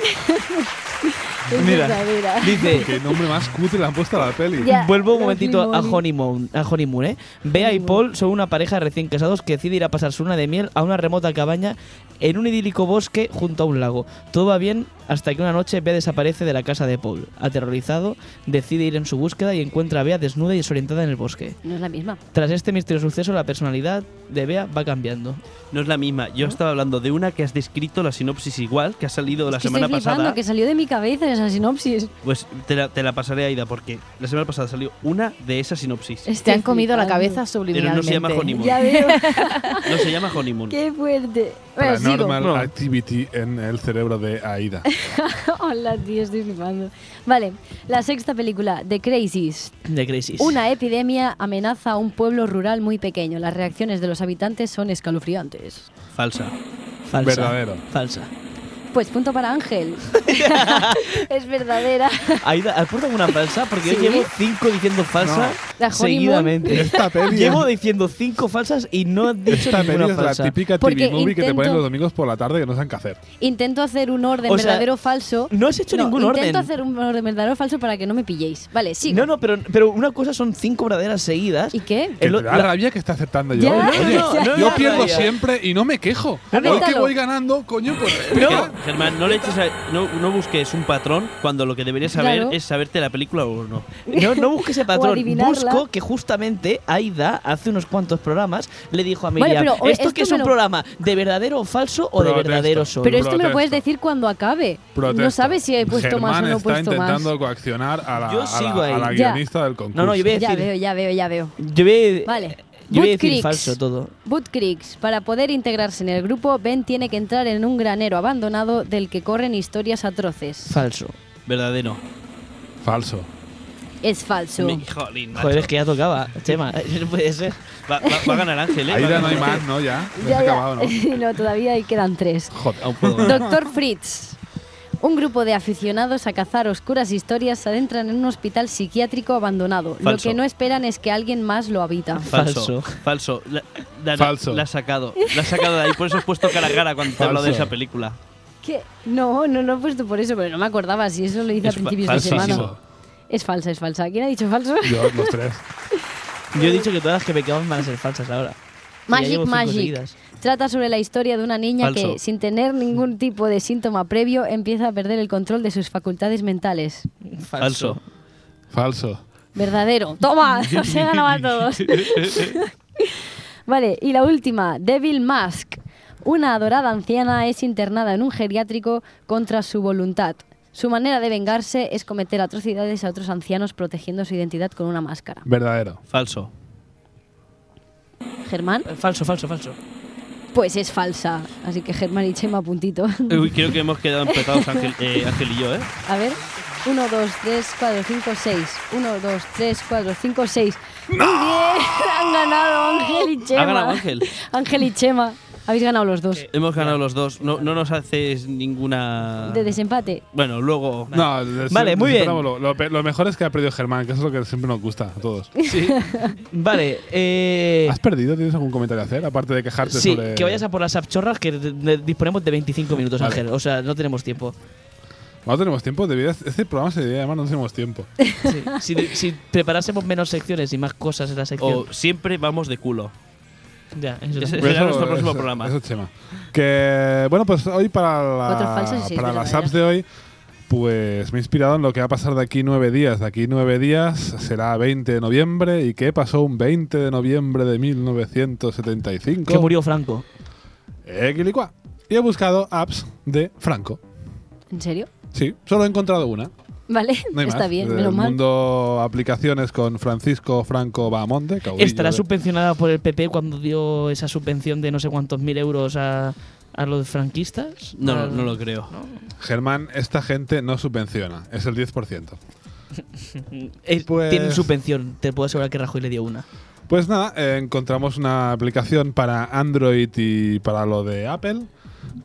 Speaker 3: Es
Speaker 1: Mira.
Speaker 3: verdadera.
Speaker 1: Dice,
Speaker 2: Qué nombre más cutre le han puesto a la peli.
Speaker 3: Ya,
Speaker 1: Vuelvo un
Speaker 3: los
Speaker 1: momentito a
Speaker 3: limones.
Speaker 1: Honeymoon. A honeymoon ¿eh? Bea y
Speaker 3: Honeymoon.
Speaker 1: Paul son una pareja recién casados que decide ir a pasar su luna de miel a una remota cabaña en un idílico bosque junto a un lago. Todo va bien hasta que una noche Bea desaparece de la casa de Paul. Aterrorizado, decide ir en su búsqueda y encuentra a Bea desnuda y desorientada en el bosque.
Speaker 3: No es la misma.
Speaker 1: Tras este misterioso suceso, la personalidad de Bea va cambiando.
Speaker 4: No es la misma. Yo estaba hablando de una que has descrito la sinopsis igual, que ha salido la
Speaker 3: Es que
Speaker 4: semana
Speaker 3: estoy flipando,
Speaker 4: pasada.
Speaker 3: que salió de mi cabeza esa sinopsis.
Speaker 4: Pues te la, te la pasaré a Ida porque la semana pasada salió una de esas sinopsis.
Speaker 5: Te
Speaker 3: Estoy
Speaker 5: han comido la
Speaker 3: flipando.
Speaker 5: cabeza
Speaker 4: Pero no
Speaker 5: subliminalmente.
Speaker 4: se llama Honeymoon.
Speaker 3: Ya veo,
Speaker 4: No se llama Honeymoon.
Speaker 3: qué fuerte. Bueno, sigo.
Speaker 2: Paranormal
Speaker 4: No.
Speaker 2: Activity en el cerebro de Aida.
Speaker 3: Hola, tío, estoy flipando. Vale, la sexta película, The Crazies.
Speaker 1: De crisis.
Speaker 3: Una epidemia amenaza a un pueblo rural muy pequeño. Las reacciones de los habitantes son escalofriantes.
Speaker 4: Falsa.
Speaker 1: falsa.
Speaker 2: Verdadero.
Speaker 1: Falsa.
Speaker 3: Pues punto para Ángel. es verdadera.
Speaker 1: Aida, ¿has puesto alguna falsa? Porque
Speaker 3: Sí.
Speaker 1: yo llevo cinco diciendo falsa
Speaker 3: La Honeymoon.
Speaker 2: Y
Speaker 1: seguidamente.
Speaker 2: Esta peli,
Speaker 1: Llevo
Speaker 2: es-
Speaker 1: diciendo cinco falsas y no he dicho
Speaker 2: esta peli
Speaker 1: ninguna
Speaker 2: es la
Speaker 1: falsa.
Speaker 2: típica
Speaker 3: Porque
Speaker 2: TV movie que te ponen
Speaker 3: intento-
Speaker 2: los domingos por la tarde que no saben qué hacer.
Speaker 3: Intento hacer un orden
Speaker 1: O sea,
Speaker 3: verdadero o falso.
Speaker 1: No has hecho
Speaker 3: No,
Speaker 1: ningún
Speaker 3: intento
Speaker 1: orden.
Speaker 3: hacer un orden verdadero o falso para que no me pilléis. Vale, sí.
Speaker 1: No, no, pero, pero una cosa son cinco verdaderas seguidas.
Speaker 3: ¿Y qué?
Speaker 2: Que
Speaker 1: El o-
Speaker 2: te da
Speaker 1: la-
Speaker 2: rabia que está acertando yo.
Speaker 3: Ya,
Speaker 2: Oye,
Speaker 3: no,
Speaker 2: oye,
Speaker 3: no,
Speaker 1: no,
Speaker 2: yo
Speaker 1: no,
Speaker 2: pierdo
Speaker 1: rabia.
Speaker 2: siempre y no me quejo.
Speaker 3: Avéntalo.
Speaker 2: Hoy que voy ganando, coño, pues...
Speaker 4: Ger- Germán, no le eches a- no, no busques un patrón cuando lo que deberías saber
Speaker 3: Claro.
Speaker 4: es saberte la película o no.
Speaker 1: No, no busques el patrón.
Speaker 3: adivinarla.
Speaker 1: Busco que justamente Aida, hace unos cuantos programas, le dijo a Miriam,
Speaker 3: pero, oye,
Speaker 1: ¿esto,
Speaker 3: esto
Speaker 1: que es
Speaker 3: me
Speaker 1: un
Speaker 3: lo-
Speaker 1: programa de verdadero o falso o de
Speaker 2: Protesto.
Speaker 1: verdadero solo?
Speaker 3: Pero esto me lo puedes
Speaker 2: Protesto.
Speaker 3: decir cuando acabe. No
Speaker 2: Protesto.
Speaker 3: sabes si he puesto
Speaker 2: Germán
Speaker 3: más o no he puesto
Speaker 2: está
Speaker 3: más.
Speaker 2: intentando coaccionar a la,
Speaker 1: Yo
Speaker 2: a la-
Speaker 1: sigo ahí.
Speaker 2: a la
Speaker 3: Ya.
Speaker 2: guionista del concurso.
Speaker 1: No, no, yo voy a
Speaker 3: Ya
Speaker 1: decir,
Speaker 3: veo, ya veo, ya veo.
Speaker 1: yo voy a-
Speaker 3: Vale.
Speaker 1: yo voy a
Speaker 3: Boot
Speaker 1: decir
Speaker 3: Creeks.
Speaker 1: falso todo.
Speaker 3: Boot Creeks. Para poder integrarse en el grupo, Ben tiene que entrar en un granero abandonado del que corren historias atroces.
Speaker 1: Falso.
Speaker 4: Verdadero.
Speaker 2: Falso.
Speaker 3: Es falso.
Speaker 4: Mi- jolín, macho.
Speaker 1: Joder, es que ya tocaba. Chema, no puede ser.
Speaker 4: va, va- va a ganar Ángel, ¿eh? Va
Speaker 2: Aida
Speaker 4: a
Speaker 2: no hay
Speaker 4: ganar
Speaker 2: más,
Speaker 4: Ángel.
Speaker 2: ¿no? Ya. Ya se ha
Speaker 3: Ya, ya.
Speaker 2: acabado, ¿no?
Speaker 3: No, todavía ahí quedan tres.
Speaker 2: Joder.
Speaker 4: Aún puedo ganar.
Speaker 3: Doctor Fritz. Un grupo de aficionados a cazar oscuras historias se adentran en un hospital psiquiátrico abandonado. Lo
Speaker 4: Falso.
Speaker 3: que no esperan es que alguien más lo habita.
Speaker 4: Falso.
Speaker 1: Falso.
Speaker 4: Falso. La, Dana,
Speaker 2: Falso.
Speaker 4: La has sacado. La has sacado de ahí. Por eso has puesto cara a cara cuando te he hablado de
Speaker 2: Falso.
Speaker 4: esa película.
Speaker 3: ¿Qué? No, no, no he puesto por eso, pero no me acordaba si eso lo hice
Speaker 4: Es
Speaker 3: a
Speaker 4: fa-
Speaker 3: principios de
Speaker 4: falsísimo.
Speaker 3: semana. Es falsa, es falsa. ¿Quién ha dicho falso?
Speaker 2: Yo, los tres.
Speaker 1: Yo he dicho que todas las que me quedaban van a ser falsas ahora. Y ya
Speaker 3: Magic
Speaker 1: llevo cinco
Speaker 3: Magic.
Speaker 1: seguidas.
Speaker 3: Trata sobre la historia de una niña
Speaker 4: Falso.
Speaker 3: que, sin tener ningún tipo de síntoma previo, empieza a perder el control de sus facultades mentales.
Speaker 1: Falso.
Speaker 4: Falso.
Speaker 2: Falso.
Speaker 3: Verdadero. ¡Toma! Os he ganado a todos. vale, y la última, Devil Mask. Una adorada anciana es internada en un geriátrico contra su voluntad. Su manera de vengarse es cometer atrocidades a otros ancianos protegiendo su identidad con una máscara.
Speaker 2: Verdadero.
Speaker 4: Falso.
Speaker 3: Germán,
Speaker 1: Eh, Falso, falso, falso.
Speaker 3: pues es falsa. Así que Germán y Chema, puntito.
Speaker 4: Uy, creo que hemos quedado empatados Ángel, eh, Ángel y yo, ¿eh?
Speaker 3: A ver. 1, 2, 3, 4, 5, 6. 1, 2, 3, 4, 5, 6. Muy bien, han ganado Ángel y Chema.
Speaker 4: Ha ganado Ángel.
Speaker 3: Ángel y Chema, habéis ganado los dos.
Speaker 2: Eh,
Speaker 4: Hemos ganado los dos. No, no nos haces ninguna.
Speaker 2: ah.
Speaker 3: De desempate.
Speaker 4: Bueno, luego.
Speaker 2: No, les-
Speaker 1: Vale, muy
Speaker 2: les
Speaker 1: bien.
Speaker 2: esperamos Lo, lo pe- lo mejor es que ha perdido Germán, que eso es lo que siempre nos gusta a todos.
Speaker 1: Vale, eh.
Speaker 2: ¿Has perdido? ¿Tienes algún comentario a hacer? Aparte de quejarte
Speaker 1: Sí,
Speaker 2: sobre.
Speaker 1: que vayas a por las apchorras que de- de- disponemos de 25 minutos,
Speaker 2: Vale.
Speaker 1: Ángel. O sea, no tenemos tiempo.
Speaker 2: No tenemos tiempo. deberías- Este programa se debería llamar No tenemos tiempo.
Speaker 1: Sí. si, de- si preparásemos menos secciones y más cosas en la sección.
Speaker 4: O siempre vamos de culo.
Speaker 1: Ya, eso
Speaker 4: Ese-
Speaker 1: también.
Speaker 4: Será nuestro próximo programa.
Speaker 2: Pues Eso es Chema. Que, bueno, pues hoy para, la-
Speaker 3: Cuatro falsos y seis
Speaker 2: para las
Speaker 3: verdaderas.
Speaker 2: apps de hoy, pues me he inspirado en lo que va a pasar de aquí nueve días. De aquí nueve días será 20 de noviembre. ¿Y qué pasó un 20 de noviembre de 1975?
Speaker 1: Que murió Franco.
Speaker 2: Eh, quilicua. Y he buscado apps de Franco.
Speaker 3: ¿En serio?
Speaker 2: Sí, solo he encontrado una.
Speaker 3: Vale,
Speaker 2: No hay
Speaker 3: está
Speaker 2: más.
Speaker 3: bien,
Speaker 2: Del
Speaker 3: menos mal.
Speaker 2: mundo aplicaciones con Francisco Franco Bahamonde. caudillo
Speaker 1: Estará
Speaker 2: de-
Speaker 1: subvencionada por el PP cuando dio esa subvención de no sé cuántos mil euros a, a los franquistas.
Speaker 4: No,
Speaker 1: Al-
Speaker 4: no lo creo.
Speaker 2: Germán, esta gente no subvenciona. Es el 10%.
Speaker 1: Eh,
Speaker 2: Pues-
Speaker 1: Tienen subvención. Te puedo asegurar que Rajoy le dio una.
Speaker 2: Pues nada, eh, encontramos una aplicación para Android y para lo de Apple,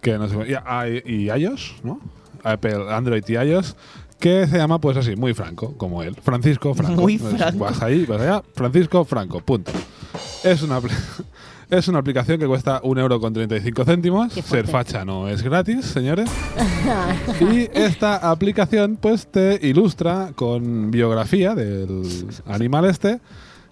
Speaker 2: que no sé, y, i- y iOS, ¿no? Apple, Android y iOS, que se llama pues así, muy franco, como él, Francisco Franco.
Speaker 1: Muy
Speaker 2: Pues
Speaker 1: Franco.
Speaker 2: Vas ahí, vas allá, Francisco Franco, punto. Es una apli- Es una aplicación que cuesta 1,35 euro.
Speaker 3: Qué
Speaker 2: Ser
Speaker 3: fuerte.
Speaker 2: facha no es gratis, señores. y esta aplicación pues te ilustra con biografía del animal este,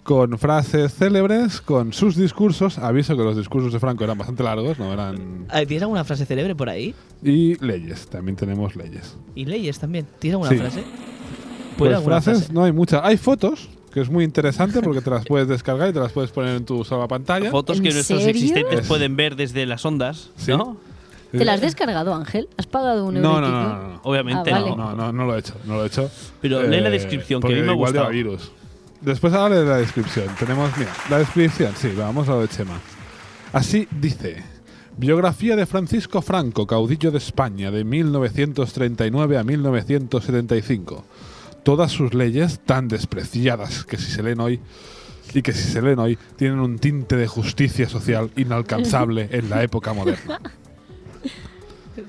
Speaker 2: con frases célebres, con sus discursos. Aviso que los discursos de Franco eran bastante largos, no eran...
Speaker 1: Ah, ¿Tienes alguna frase célebre por ahí?
Speaker 2: Y leyes, también tenemos leyes.
Speaker 1: Y leyes también. ¿Tienes alguna
Speaker 2: Sí.
Speaker 1: frase? ¿Puedo
Speaker 2: Pues
Speaker 1: alguna
Speaker 2: frases
Speaker 1: frase?
Speaker 2: no hay muchas. Hay fotos, que es muy interesante porque te las puedes descargar y te las puedes poner en tu sola pantalla.
Speaker 4: Fotos
Speaker 3: ¿En
Speaker 4: que nuestros
Speaker 3: serio?
Speaker 4: existentes
Speaker 2: Es-
Speaker 4: pueden ver desde las ondas,
Speaker 2: Sí. Eh,
Speaker 4: ¿no?
Speaker 3: ¿Te la has descargado, Ángel? ¿Has pagado un
Speaker 2: No, no,
Speaker 3: euro?
Speaker 2: no, no, no.
Speaker 4: Obviamente
Speaker 3: Ah, vale.
Speaker 4: no.
Speaker 2: No, no, no lo he hecho, no lo he hecho. Eh,
Speaker 4: Pero lee la descripción, que a mí
Speaker 2: porque
Speaker 4: me ha
Speaker 2: igual lleva
Speaker 4: gustado.
Speaker 2: virus. Después ahora de la descripción. Tenemos, mira, la descripción, sí, vamos a lo de Chema. Así dice. Biografía de Francisco Franco, caudillo de España, de 1939 a 1975. Todas sus leyes, tan despreciadas que si se leen hoy, y que si se leen hoy, tienen un tinte de justicia social inalcanzable en la época moderna.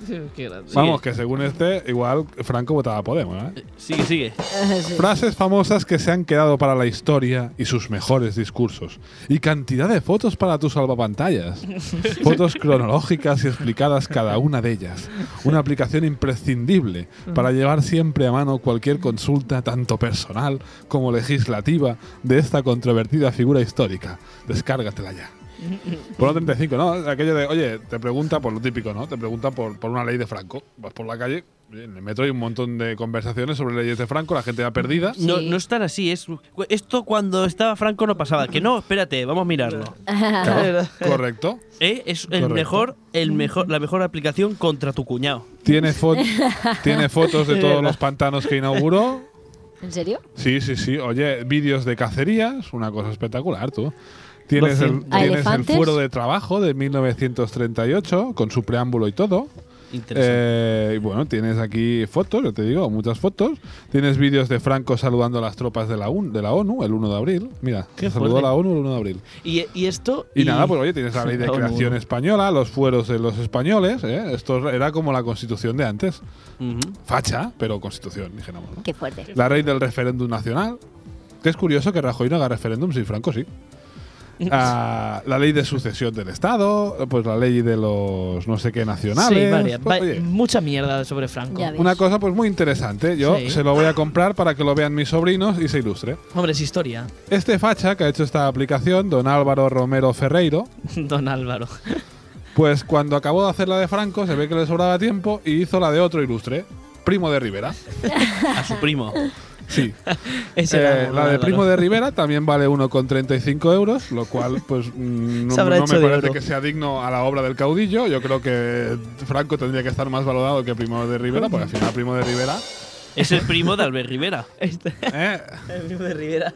Speaker 2: Vamos, que según este, igual Franco votaba a Podemos, ¿eh?
Speaker 4: Sigue, sigue.
Speaker 2: Frases famosas que se han quedado para la historia y sus mejores discursos. Y cantidad de fotos para tus salvapantallas. Fotos cronológicas y explicadas cada una de ellas. Una aplicación imprescindible para llevar siempre a mano cualquier consulta, tanto personal como legislativa, de esta controvertida figura histórica. Descárgatela ya. Por un 35, ¿no? Aquello de, oye, te pregunta por lo típico, ¿no? Te pregunta por, por una ley de Franco. Vas por la calle, en el metro hay un montón de conversaciones sobre leyes de Franco, la gente va perdida.
Speaker 4: No,
Speaker 3: Sí.
Speaker 4: no es tan así. Es, esto cuando estaba Franco no pasaba. Que no, espérate, vamos a mirarlo.
Speaker 3: Ah.
Speaker 2: Claro, correcto.
Speaker 4: ¿Eh? Es el
Speaker 2: Correcto.
Speaker 4: mejor, el
Speaker 3: Mm.
Speaker 4: mejor, la mejor aplicación contra tu cuñado.
Speaker 2: Tiene, fo- tiene fotos de todos los pantanos que inauguró.
Speaker 3: ¿En serio?
Speaker 2: Sí, sí, sí. Oye, vídeos de cacerías, una cosa espectacular, tú. Tienes, el,
Speaker 3: ¿A
Speaker 2: tienes el
Speaker 3: elefantes?
Speaker 2: fuero de trabajo de 1938, con su preámbulo y todo.
Speaker 4: Interesante.
Speaker 2: Eh, y bueno, tienes aquí fotos, yo te digo, muchas fotos. Tienes vídeos de Franco saludando a las tropas de la, UN de la ONU el 1 de abril. Mira,
Speaker 1: Qué
Speaker 2: saludó a
Speaker 1: fuerte.
Speaker 2: la ONU el 1 de abril.
Speaker 1: Y, y esto.
Speaker 2: Y, nada, pues oye, tienes la ley de
Speaker 1: La ONU.
Speaker 2: creación española, los fueros de los españoles. ¿eh? Esto era como la constitución de antes.
Speaker 4: Ujú.
Speaker 2: Facha, pero constitución, dijéramos. ¿no?
Speaker 3: Qué fuerte.
Speaker 2: La ley del referéndum nacional. Que es curioso que Rajoy no haga referéndum, sí, Franco sí. Ah, la ley de sucesión del Estado, pues la ley de los no sé qué nacionales.
Speaker 1: Sí, varias.
Speaker 2: Pues,
Speaker 1: Va-
Speaker 2: oye.
Speaker 1: mucha mierda sobre Franco.
Speaker 3: Ya ves.
Speaker 2: Una cosa pues muy interesante. Yo
Speaker 1: Sí.
Speaker 2: se lo voy a comprar para que lo vean mis sobrinos y se ilustre.
Speaker 1: Hombre, es historia.
Speaker 2: Este facha que ha hecho esta aplicación, don Álvaro Romero Ferreiro,
Speaker 1: Don Álvaro.
Speaker 2: pues cuando acabó de hacer la de Franco se ve que le sobraba tiempo y hizo la de otro ilustre, primo de Rivera.
Speaker 4: A su primo.
Speaker 2: Sí.
Speaker 1: Ese
Speaker 2: Eh,
Speaker 1: era don
Speaker 2: la de
Speaker 1: Álvaro.
Speaker 2: primo de Rivera también vale 1,35 euros, lo cual pues mm, no,
Speaker 1: Se habrá
Speaker 2: no
Speaker 1: hecho
Speaker 2: me
Speaker 1: de
Speaker 2: parece
Speaker 1: oro.
Speaker 2: que sea digno a la obra del caudillo. Yo creo que Franco tendría que estar más valorado que primo de Rivera, porque al final primo de Rivera...
Speaker 4: Es el primo de Albert Rivera.
Speaker 1: Este-
Speaker 2: ¿eh?
Speaker 1: el primo de Rivera.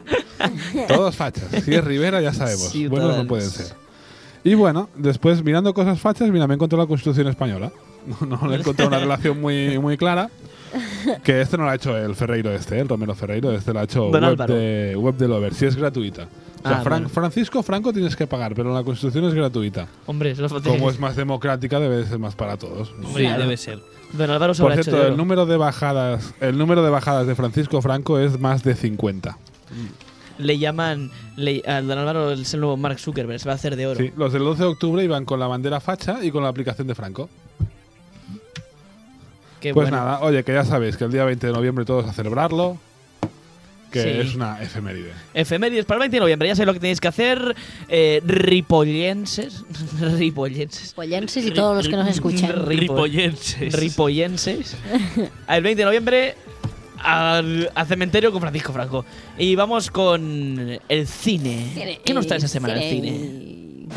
Speaker 2: Todos fachas. Si es Rivera, ya sabemos.
Speaker 1: Sí,
Speaker 2: Buenos no
Speaker 1: total.
Speaker 2: pueden ser. Y bueno, después mirando cosas fachas, mira, me encontré la Constitución Española. No, no le encontré una relación muy, muy clara. Que este no lo ha hecho el Ferreiro este, el Romero Ferreiro, este lo ha hecho
Speaker 1: Don
Speaker 2: web
Speaker 1: Álvaro.
Speaker 2: de, web de Lover, si es gratuita. O sea,
Speaker 1: Ah,
Speaker 2: Fran-
Speaker 1: bueno.
Speaker 2: Francisco Franco tienes que pagar, pero la Constitución es gratuita.
Speaker 1: Hombre, eso lo
Speaker 2: Como es más democrática, debe de ser más para todos.
Speaker 4: Sí, debe ser.
Speaker 1: Don Álvaro se
Speaker 2: Por
Speaker 1: habrá hecho
Speaker 2: cierto,
Speaker 1: de
Speaker 2: el
Speaker 1: oro.
Speaker 2: número de bajadas, el número de bajadas de Francisco Franco es más de 50.
Speaker 1: Le llaman. le- a Don Álvaro es el nuevo Mark Zuckerberg. Se va a hacer de oro.
Speaker 2: Sí, los del 12 de octubre iban con la bandera facha y con la aplicación de Franco.
Speaker 1: Qué
Speaker 2: pues
Speaker 1: bueno.
Speaker 2: nada, oye, que ya sabéis que el día 20 de noviembre todos a celebrarlo, que
Speaker 1: Sí.
Speaker 2: es una efeméride.
Speaker 1: Efemérides para el 20 de noviembre. Ya sé lo que tenéis que hacer. Eh, ripollenses. ripollenses.
Speaker 3: Pollenses y todos los que nos escuchan.
Speaker 1: Ripo-
Speaker 4: Ripollenses.
Speaker 1: Ripollenses. el 20 de noviembre al, al cementerio con Francisco Franco. Y vamos con el cine. ¿Qué nos trae esa semana el cine?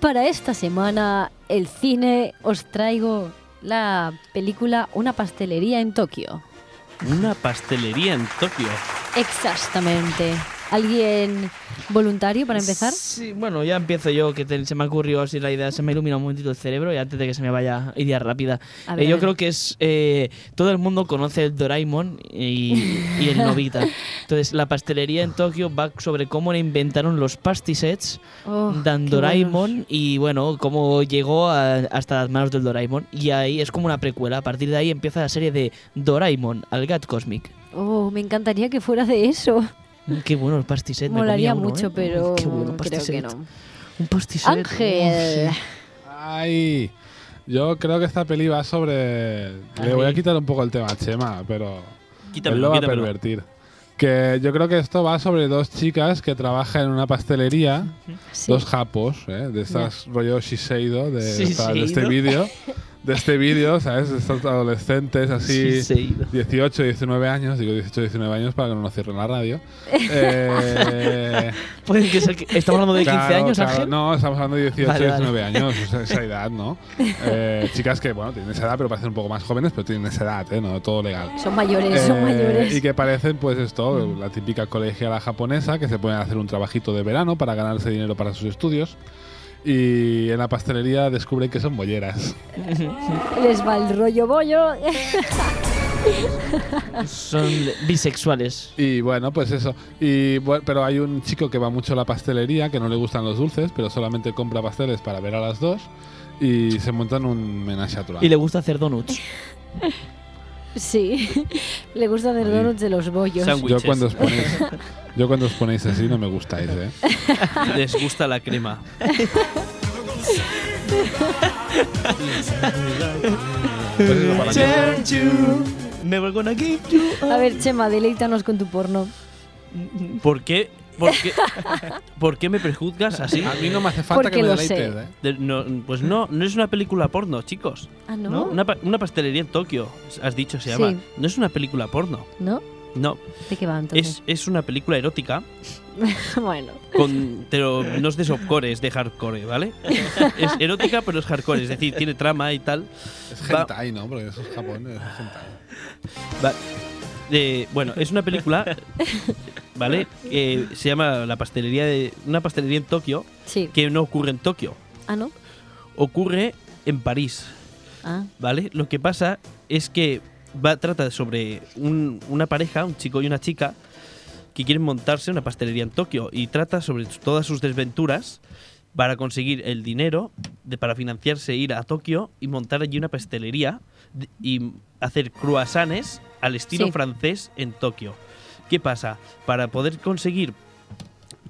Speaker 3: Para esta semana, el cine, os traigo la película Una pastelería en Tokio.
Speaker 4: Una pastelería en Tokio.
Speaker 3: Exactamente. ¿Alguien voluntario para empezar?
Speaker 1: Sí, bueno, ya empiezo yo, que te- se me ha ocurrido así la idea, se me ha iluminado un momentito el cerebro y antes de que se me vaya idea rápida.
Speaker 3: A ver,
Speaker 1: Eh,
Speaker 3: a
Speaker 1: yo
Speaker 3: ver.
Speaker 1: creo que es. eh, todo el mundo conoce el Doraemon y, y el Novita. Entonces, la pastelería en Tokio va sobre cómo le inventaron los pastisets
Speaker 3: Oh,
Speaker 1: Dan
Speaker 3: qué
Speaker 1: Doraemon y bueno, cómo llegó a- hasta las manos del Doraemon. Y ahí es como una precuela. A partir de ahí empieza la serie de Doraemon, al Gat Cosmic. Mm,
Speaker 3: buenos. Oh, me encantaría que fuera de eso.
Speaker 1: Qué bueno el pastiset. me
Speaker 3: Molaría
Speaker 1: comía uno,
Speaker 3: mucho,
Speaker 1: ¿eh?
Speaker 3: pero
Speaker 1: Qué bueno
Speaker 3: creo que
Speaker 1: pastiset.
Speaker 3: no.
Speaker 1: Un pastiset.
Speaker 3: Ángel.
Speaker 1: Uf, sí.
Speaker 2: Ay, yo creo que esta peli va sobre. Le voy a quitar un poco el tema a Chema, pero. él lo
Speaker 4: Quítamelo,
Speaker 2: va a
Speaker 4: quítamelo.
Speaker 2: pervertir. Que yo creo que esto va sobre dos chicas que trabajan en una pastelería.
Speaker 3: Sí.
Speaker 2: dos japos, ¿eh? de estas rollo Shiseido, de,
Speaker 1: Sí,
Speaker 2: esta- de este
Speaker 1: Shiseido.
Speaker 2: vídeo, de este vídeo, ¿sabes? Estos adolescentes así,
Speaker 1: Shiseido.
Speaker 2: 18, 19 años, digo 18, 19 años para que no nos cierren la radio. Eh,
Speaker 1: Puede que sea que- Estamos hablando de 15
Speaker 2: claro,
Speaker 1: años,
Speaker 2: claro.
Speaker 1: Ángel.
Speaker 2: No, estamos hablando de 18,
Speaker 1: Vale, vale.
Speaker 2: 19 años, o sea, esa edad, ¿no? Eh, chicas que, bueno, tienen esa edad, pero parecen un poco más jóvenes, pero tienen esa edad, ¿eh? No, todo legal.
Speaker 3: Son mayores, son
Speaker 2: Eh,
Speaker 3: mayores.
Speaker 2: Y que parecen, pues esto, la típica colegiala japonesa que se pueden hacer un trabajito de verano para ganarse dinero para sus estudios. Y en la pastelería descubren que son bolleras.
Speaker 3: Les va el rollo bollo.
Speaker 1: Son bisexuales.
Speaker 2: Y bueno, pues eso. Y bueno, pero hay un chico que va mucho a la pastelería, que no le gustan los dulces, pero solamente compra pasteles para ver a las dos. Y se montan un menaje a trois.
Speaker 1: Y le gusta hacer donuts.
Speaker 3: sí. Le gusta hacer
Speaker 2: Ahí.
Speaker 3: donuts de los bollos.
Speaker 4: Sándwich.
Speaker 2: yo
Speaker 4: sándwiches.
Speaker 2: cuando os ponéis, yo cuando os ponéis así no me gustáis, ¿eh?
Speaker 4: Les gusta la crema.
Speaker 2: Pues eso, para que-
Speaker 1: Turn you, never gonna give you up.
Speaker 3: A ver, Chema, deleítanos con tu porno.
Speaker 4: ¿Por qué? ¿Por qué, por qué me prejuzgas así?
Speaker 2: a mí no me hace falta
Speaker 3: Porque
Speaker 2: que me
Speaker 3: lo
Speaker 2: deleites,
Speaker 3: sé.
Speaker 2: ¿eh?
Speaker 4: De- no, pues no, no es una película porno, chicos.
Speaker 3: Ah, ¿no?
Speaker 4: ¿No? Una, pa- una pastelería en Tokio, has dicho, se
Speaker 3: Sí.
Speaker 4: llama. No es una película porno.
Speaker 3: ¿No?
Speaker 4: No,
Speaker 3: ¿De qué va
Speaker 4: es,
Speaker 3: entonces?
Speaker 4: es una película erótica,
Speaker 3: bueno.
Speaker 4: con, pero no es de softcore, es de hardcore, ¿vale? es erótica, pero es hardcore, es decir, tiene trama y tal.
Speaker 2: Es
Speaker 4: Va-
Speaker 2: hentai, ¿no? Porque eso es Japón, es hentai.
Speaker 4: Va- eh, bueno, es una película, ¿vale? Que se llama la pastelería de una pastelería en Tokio
Speaker 3: Sí.
Speaker 4: que no ocurre en Tokio,
Speaker 3: Ah, ¿no?
Speaker 4: ocurre en París,
Speaker 3: Ah.
Speaker 4: ¿vale? Lo que pasa es que va trata sobre un- una pareja, un chico y una chica que quieren montarse una pastelería en Tokio y trata sobre todas sus desventuras para conseguir el dinero de, para financiarse ir a Tokio y montar allí una pastelería d- y hacer croissants al estilo
Speaker 3: Sí.
Speaker 4: francés en Tokio. ¿Qué pasa? Para poder conseguir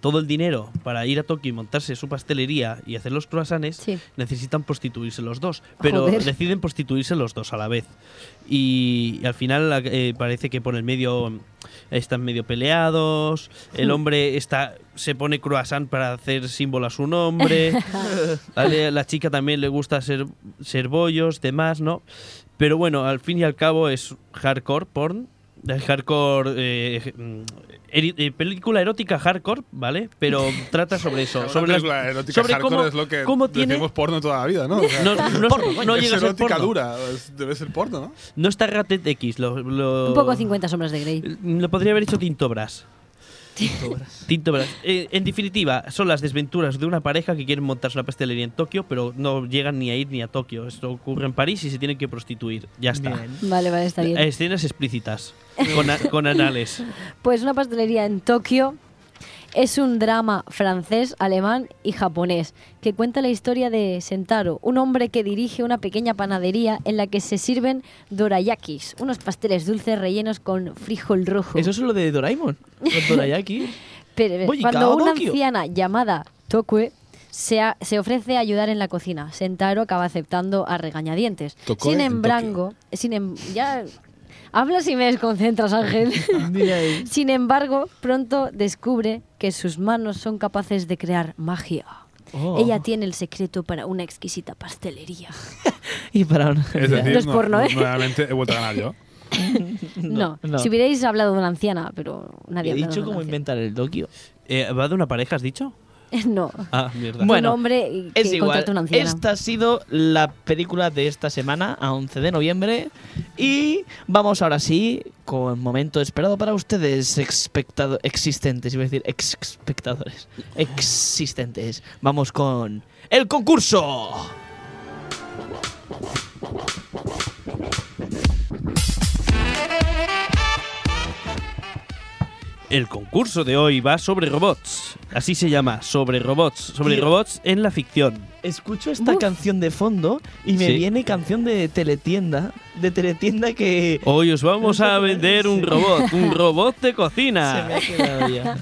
Speaker 4: todo el dinero para ir a Tokio y montarse su pastelería y hacer los croissants,
Speaker 3: Sí.
Speaker 4: necesitan prostituirse los dos, pero
Speaker 3: Joder.
Speaker 4: deciden prostituirse los dos a la vez. Y, y al final eh, parece que por el medio mm, están medio peleados, el hombre está se pone croissant para hacer símbolo a su nombre, ¿vale? a la chica también le gusta ser, ser bollos, demás, ¿no? Pero bueno, al fin y al cabo es hardcore porn, eh, hardcore... eh, mm, eri- eh, película erótica hardcore, ¿vale? Pero trata sobre eso,
Speaker 2: Una
Speaker 4: sobre las-
Speaker 2: película erótica
Speaker 4: sobre
Speaker 2: hardcore
Speaker 4: cómo-
Speaker 2: es lo que
Speaker 4: cómo tiene-
Speaker 2: decimos porno toda la vida, ¿no? O sea,
Speaker 4: no, no, no
Speaker 2: es
Speaker 4: llega a ser
Speaker 2: erótica
Speaker 4: porno.
Speaker 2: dura, es- debe ser porno, ¿no?
Speaker 4: No está Rated X. Lo,
Speaker 2: Oh.
Speaker 4: lo-
Speaker 3: Un poco 50 sombras de Grey.
Speaker 4: Lo podría haber hecho Tintobras. Tintobras. Eh, en definitiva, son las desventuras de una pareja que quieren montarse una pastelería en Tokio, pero no llegan ni a ir ni a Tokio. Esto ocurre en París y se tienen que prostituir. Ya está.
Speaker 1: Bien.
Speaker 3: Vale, vale, está bien.
Speaker 2: Eh,
Speaker 4: Escenas explícitas. Con, a- con anales.
Speaker 3: Pues una pastelería en Tokio es un drama francés, alemán y japonés que cuenta la historia de Sentaro, un hombre que dirige una pequeña panadería en la que se sirven dorayakis, unos pasteles dulces rellenos con frijol rojo.
Speaker 1: Eso es lo de Doraemon. Los Dorayaki.
Speaker 3: Pero, eh,
Speaker 1: Voy y
Speaker 3: cuando
Speaker 1: cao,
Speaker 3: una
Speaker 1: Tokio.
Speaker 3: anciana llamada Tokue se, a- se ofrece a ayudar en la cocina, Sentaro acaba aceptando a regañadientes.
Speaker 2: Tokue
Speaker 3: sin
Speaker 2: en
Speaker 3: embargo, sin em- ya hablas y me desconcentras, Ángel.
Speaker 1: Mira ahí.
Speaker 3: Sin embargo, pronto descubre que sus manos son capaces de crear magia.
Speaker 1: Oh.
Speaker 3: Ella tiene el secreto para una exquisita pastelería.
Speaker 1: Y para una-
Speaker 2: Es decir,
Speaker 3: No es porno, ¿eh?
Speaker 2: nuevamente he vuelto a ganar yo.
Speaker 3: No,
Speaker 1: no.
Speaker 3: si hubierais hablado de una anciana, pero nadie ha
Speaker 1: He
Speaker 3: hablado
Speaker 1: dicho
Speaker 3: de una
Speaker 1: cómo
Speaker 3: anciana.
Speaker 1: inventar el Tokio.
Speaker 4: Eh, ¿Va de una pareja, has dicho?
Speaker 3: No.
Speaker 4: Ah, mierda.
Speaker 1: Bueno,
Speaker 3: un hombre que
Speaker 1: Es igual.
Speaker 3: contrata una anciana.
Speaker 1: Esta ha sido la película de esta semana, a 11 de noviembre. Y vamos ahora sí, con el momento esperado para ustedes, espectado- existentes, iba a decir ex espectadores, existentes. Vamos con el concurso.
Speaker 4: El concurso de hoy va sobre robots. Así se llama, sobre robots. Sobre
Speaker 1: Tío.
Speaker 4: robots en la ficción.
Speaker 1: Escucho esta
Speaker 3: Uf.
Speaker 1: canción de fondo y me
Speaker 4: Sí.
Speaker 1: viene canción de teletienda, de teletienda que
Speaker 4: Hoy os vamos a vender un robot, un robot de
Speaker 1: se me
Speaker 4: cocina.
Speaker 1: ha quedado ya.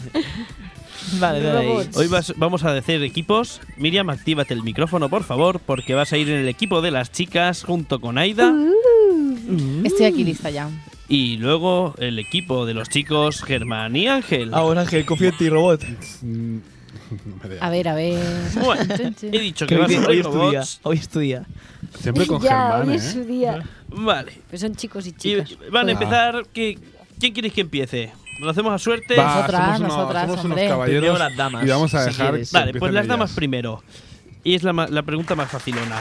Speaker 1: Vale, dale ahí.
Speaker 3: Robots.
Speaker 4: Hoy vas- vamos a hacer equipos. Miriam, actívate el micrófono, por favor, porque vas a ir en el equipo de las chicas junto con Aida.
Speaker 5: Mm. Estoy aquí lista ya.
Speaker 4: Y luego el equipo de los chicos, Germán y Ángel.
Speaker 1: Ahora que confío en ti, robot.
Speaker 2: Mm, no me digas.
Speaker 5: A ver, a ver.
Speaker 4: Bueno,
Speaker 5: Chun, chun.
Speaker 4: he dicho que
Speaker 1: Que hoy,
Speaker 4: vas a
Speaker 1: hoy
Speaker 4: sobre
Speaker 1: es tu día.
Speaker 4: robots.
Speaker 1: Hoy es tu día.
Speaker 2: Siempre con
Speaker 3: ya,
Speaker 2: Germán,
Speaker 3: hoy
Speaker 2: ¿eh?
Speaker 3: es su día.
Speaker 4: Vale.
Speaker 3: Pero son chicos y
Speaker 4: Y
Speaker 3: chicas.
Speaker 4: van
Speaker 3: Joder.
Speaker 4: a empezar. que- ¿Quién queréis que empiece? ¿Lo hacemos a suerte?
Speaker 2: Va,
Speaker 5: Nosotras,
Speaker 2: somos unos,
Speaker 5: nosotras,
Speaker 2: somos unos
Speaker 5: hombre.
Speaker 1: Primero
Speaker 2: caballeros
Speaker 1: las damas,
Speaker 2: y vamos a
Speaker 1: si
Speaker 2: dejar
Speaker 1: quieres.
Speaker 2: que
Speaker 4: Vale, pues
Speaker 2: empiecen
Speaker 4: las damas
Speaker 2: ellas.
Speaker 4: primero. Y es la, ma- la pregunta más facilona.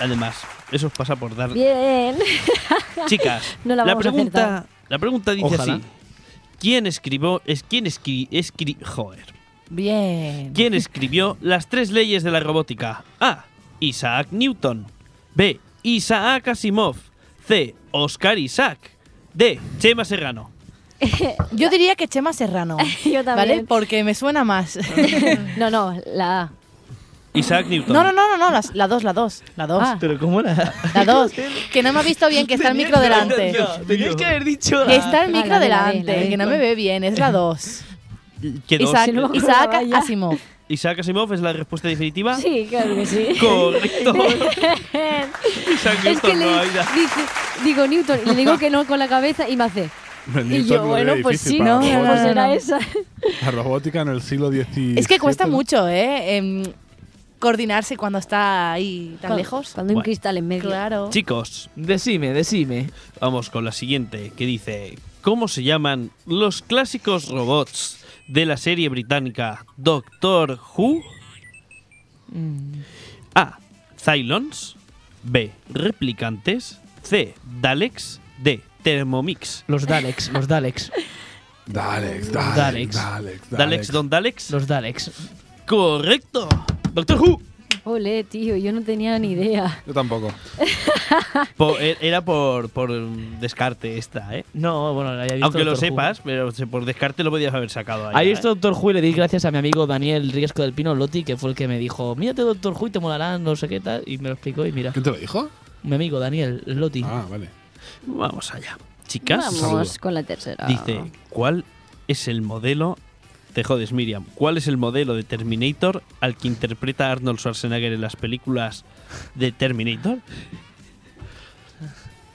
Speaker 4: Además, eso os pasa por dar.
Speaker 3: Bien.
Speaker 4: Chicas,
Speaker 3: No la vamos a
Speaker 4: pregunta,
Speaker 3: acertar.
Speaker 4: la pregunta dice
Speaker 1: Ojalá.
Speaker 4: así. ¿Quién escribió es quién escri, escri- joder,
Speaker 5: Bien.
Speaker 4: ¿Quién escribió las tres leyes de la robótica? A. Isaac Newton. B. Isaac Asimov. C. Oscar Isaac. D. Chema Serrano.
Speaker 5: Yo diría que Chema Serrano.
Speaker 3: Yo
Speaker 5: ¿Vale?
Speaker 3: también.
Speaker 5: Porque me suena
Speaker 4: Ah,
Speaker 5: más.
Speaker 3: No, no, la A.
Speaker 4: Isaac Newton.
Speaker 5: No, no, no, no, no, las- la, dos, la dos, la dos,
Speaker 3: Ah.
Speaker 1: Pero ¿cómo la...?
Speaker 5: la dos. Que no me ha visto bien, que está el micro delante.
Speaker 1: Tenías que haber dicho...
Speaker 5: Que está el
Speaker 3: Ah,
Speaker 5: micro
Speaker 3: la de, la de, la
Speaker 5: delante,
Speaker 3: de.
Speaker 5: que no me ve bien, es la dos.
Speaker 4: ¿Qué dos?
Speaker 5: Isaac,
Speaker 3: Si no me
Speaker 5: Isaac
Speaker 3: acordaba ya.
Speaker 5: Asimov.
Speaker 4: Isaac Asimov es la respuesta
Speaker 1: Ah.
Speaker 4: definitiva.
Speaker 3: Sí, claro que sí.
Speaker 4: Correcto. Isaac
Speaker 3: es que
Speaker 4: Newton
Speaker 3: le
Speaker 4: no Aida.
Speaker 3: dice- digo Newton, y le digo que no con la cabeza y me hace.
Speaker 2: Newton
Speaker 3: Y
Speaker 2: lo
Speaker 3: yo,
Speaker 2: veo
Speaker 3: bueno, pues
Speaker 2: difícil
Speaker 3: sí,
Speaker 2: para
Speaker 3: no,
Speaker 2: los
Speaker 3: no,
Speaker 5: robots.
Speaker 3: no,
Speaker 5: No, no,
Speaker 3: será
Speaker 5: no.
Speaker 3: esa.
Speaker 2: La robótica en el siglo XVII.
Speaker 5: Es que cuesta
Speaker 2: ¿no?
Speaker 5: mucho, ¿eh? Em, coordinarse cuando está ahí tan
Speaker 3: Cuando-
Speaker 5: lejos.
Speaker 3: Cuando hay un
Speaker 4: Bueno.
Speaker 3: cristal en medio.
Speaker 5: Claro.
Speaker 4: Chicos,
Speaker 1: Decime, decime.
Speaker 4: vamos con la siguiente que dice, ¿cómo se llaman los clásicos robots de la serie británica Doctor Who?
Speaker 1: Mm.
Speaker 4: A. Cylons. B. Replicantes. C. Daleks. D. Thermomix.
Speaker 1: Los Daleks, los Daleks,
Speaker 3: Mm.
Speaker 2: Dalex, Dalex,
Speaker 1: Daleks.
Speaker 2: Dalex.
Speaker 4: Daleks, don Daleks.
Speaker 1: los Daleks.
Speaker 4: Correcto. Doctor Who.
Speaker 3: Ole, tío, yo no tenía ni idea.
Speaker 2: Yo tampoco.
Speaker 4: Po- e- era por, por mm, descarte esta, ¿eh?
Speaker 1: No, bueno, la había visto
Speaker 4: Aunque lo
Speaker 1: Doctor Who.
Speaker 4: sepas, pero se- por descarte lo podías haber sacado ahí.
Speaker 1: Ahí
Speaker 4: ¿eh?
Speaker 1: está Doctor Who y le di gracias a mi amigo Daniel Riesco del Pino Lotti, que fue el que me dijo, mírate Doctor Who y te molarán, no sé qué tal, y me lo explicó y mira,
Speaker 2: ¿Quién te lo dijo?
Speaker 1: mi amigo Daniel Lotti.
Speaker 2: Ah, vale.
Speaker 4: Vamos allá. Chicas,
Speaker 3: Vamos
Speaker 2: Saludo.
Speaker 3: con la tercera.
Speaker 4: dice, ¿cuál es el modelo? Te jodes, Miriam. ¿Cuál es el modelo de Terminator al que interpreta Arnold Schwarzenegger en las películas de Terminator?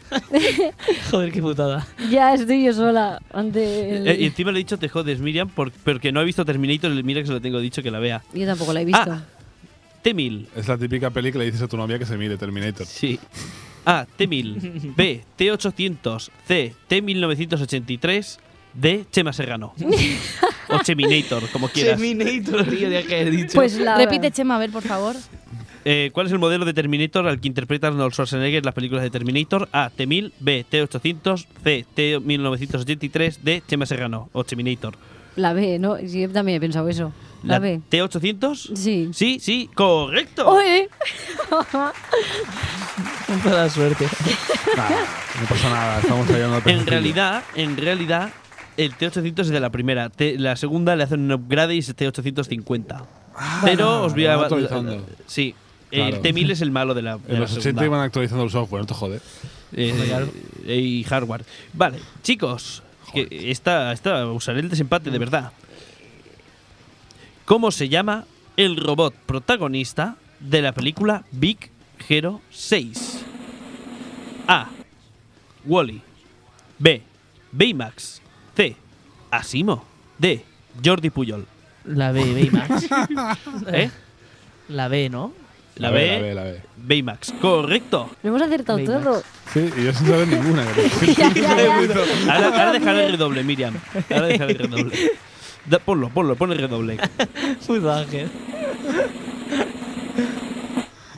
Speaker 1: Joder, qué putada.
Speaker 3: Ya estoy yo sola ante el-
Speaker 4: Eh, y encima le he dicho te jodes, Miriam, por- porque no he visto Terminator. y Mira que se lo tengo dicho que la vea.
Speaker 3: Yo tampoco la he visto.
Speaker 4: Ah. T-1000.
Speaker 2: Es la típica peli que le dices a tu novia que se mire Terminator.
Speaker 4: Sí. A. T-1000. B. T-800. C. T-1983. D. Chema Serrano. o Cheminator, como quieras.
Speaker 1: Terminator, tío, ya que he dicho.
Speaker 3: Pues la
Speaker 5: Repite, Chema, a ver, por favor.
Speaker 4: Eh, ¿Cuál es el modelo de Terminator al que interpreta Arnold Schwarzenegger en las películas de Terminator? A. T-1000. B. T-800. C. T-1983. D. Chema Serrano. O Cheminator.
Speaker 3: la B, ¿no? Sí, yo también he pensado eso. La, B.
Speaker 4: T-800?
Speaker 3: Sí.
Speaker 4: Sí, sí, correcto.
Speaker 3: Oye,
Speaker 4: Pues-
Speaker 1: Con toda la suerte.
Speaker 2: Nada, no pasa nada, estamos allá
Speaker 4: En realidad, en realidad, el T800 es de la primera. Te- la segunda le hacen un upgrade y es T850.
Speaker 2: Ah,
Speaker 4: Pero os voy
Speaker 2: lo
Speaker 4: a.
Speaker 2: van actualizando.
Speaker 4: Sí. El
Speaker 2: Claro.
Speaker 4: T1000 es el malo de la, de
Speaker 2: En
Speaker 4: la
Speaker 2: los 80
Speaker 4: segunda.
Speaker 2: iban actualizando el software, no te jode.
Speaker 4: Eh, eh, y hardware. Vale, chicos. Que esta, esta, usaré el desempate de verdad. ¿Cómo se llama el robot protagonista de la película Big Hero 6? A. Wally. B. Baymax. C. Asimo. D. Jordi Puyol.
Speaker 1: La B, Baymax.
Speaker 4: ¿Eh?
Speaker 1: La B, ¿no?
Speaker 4: La B.
Speaker 2: La B, la B.
Speaker 4: Baymax. Correcto.
Speaker 3: lo hemos acertado
Speaker 1: Baymax.
Speaker 3: todo.
Speaker 2: Sí, y yo sin saber ninguna.
Speaker 3: Ya, ya, ya.
Speaker 4: Ahora, ahora dejaré el redoble, Miriam. Ahora dejaré el redoble. Da- ponlo, ponlo, pon el redoble.
Speaker 1: Puto Ángel.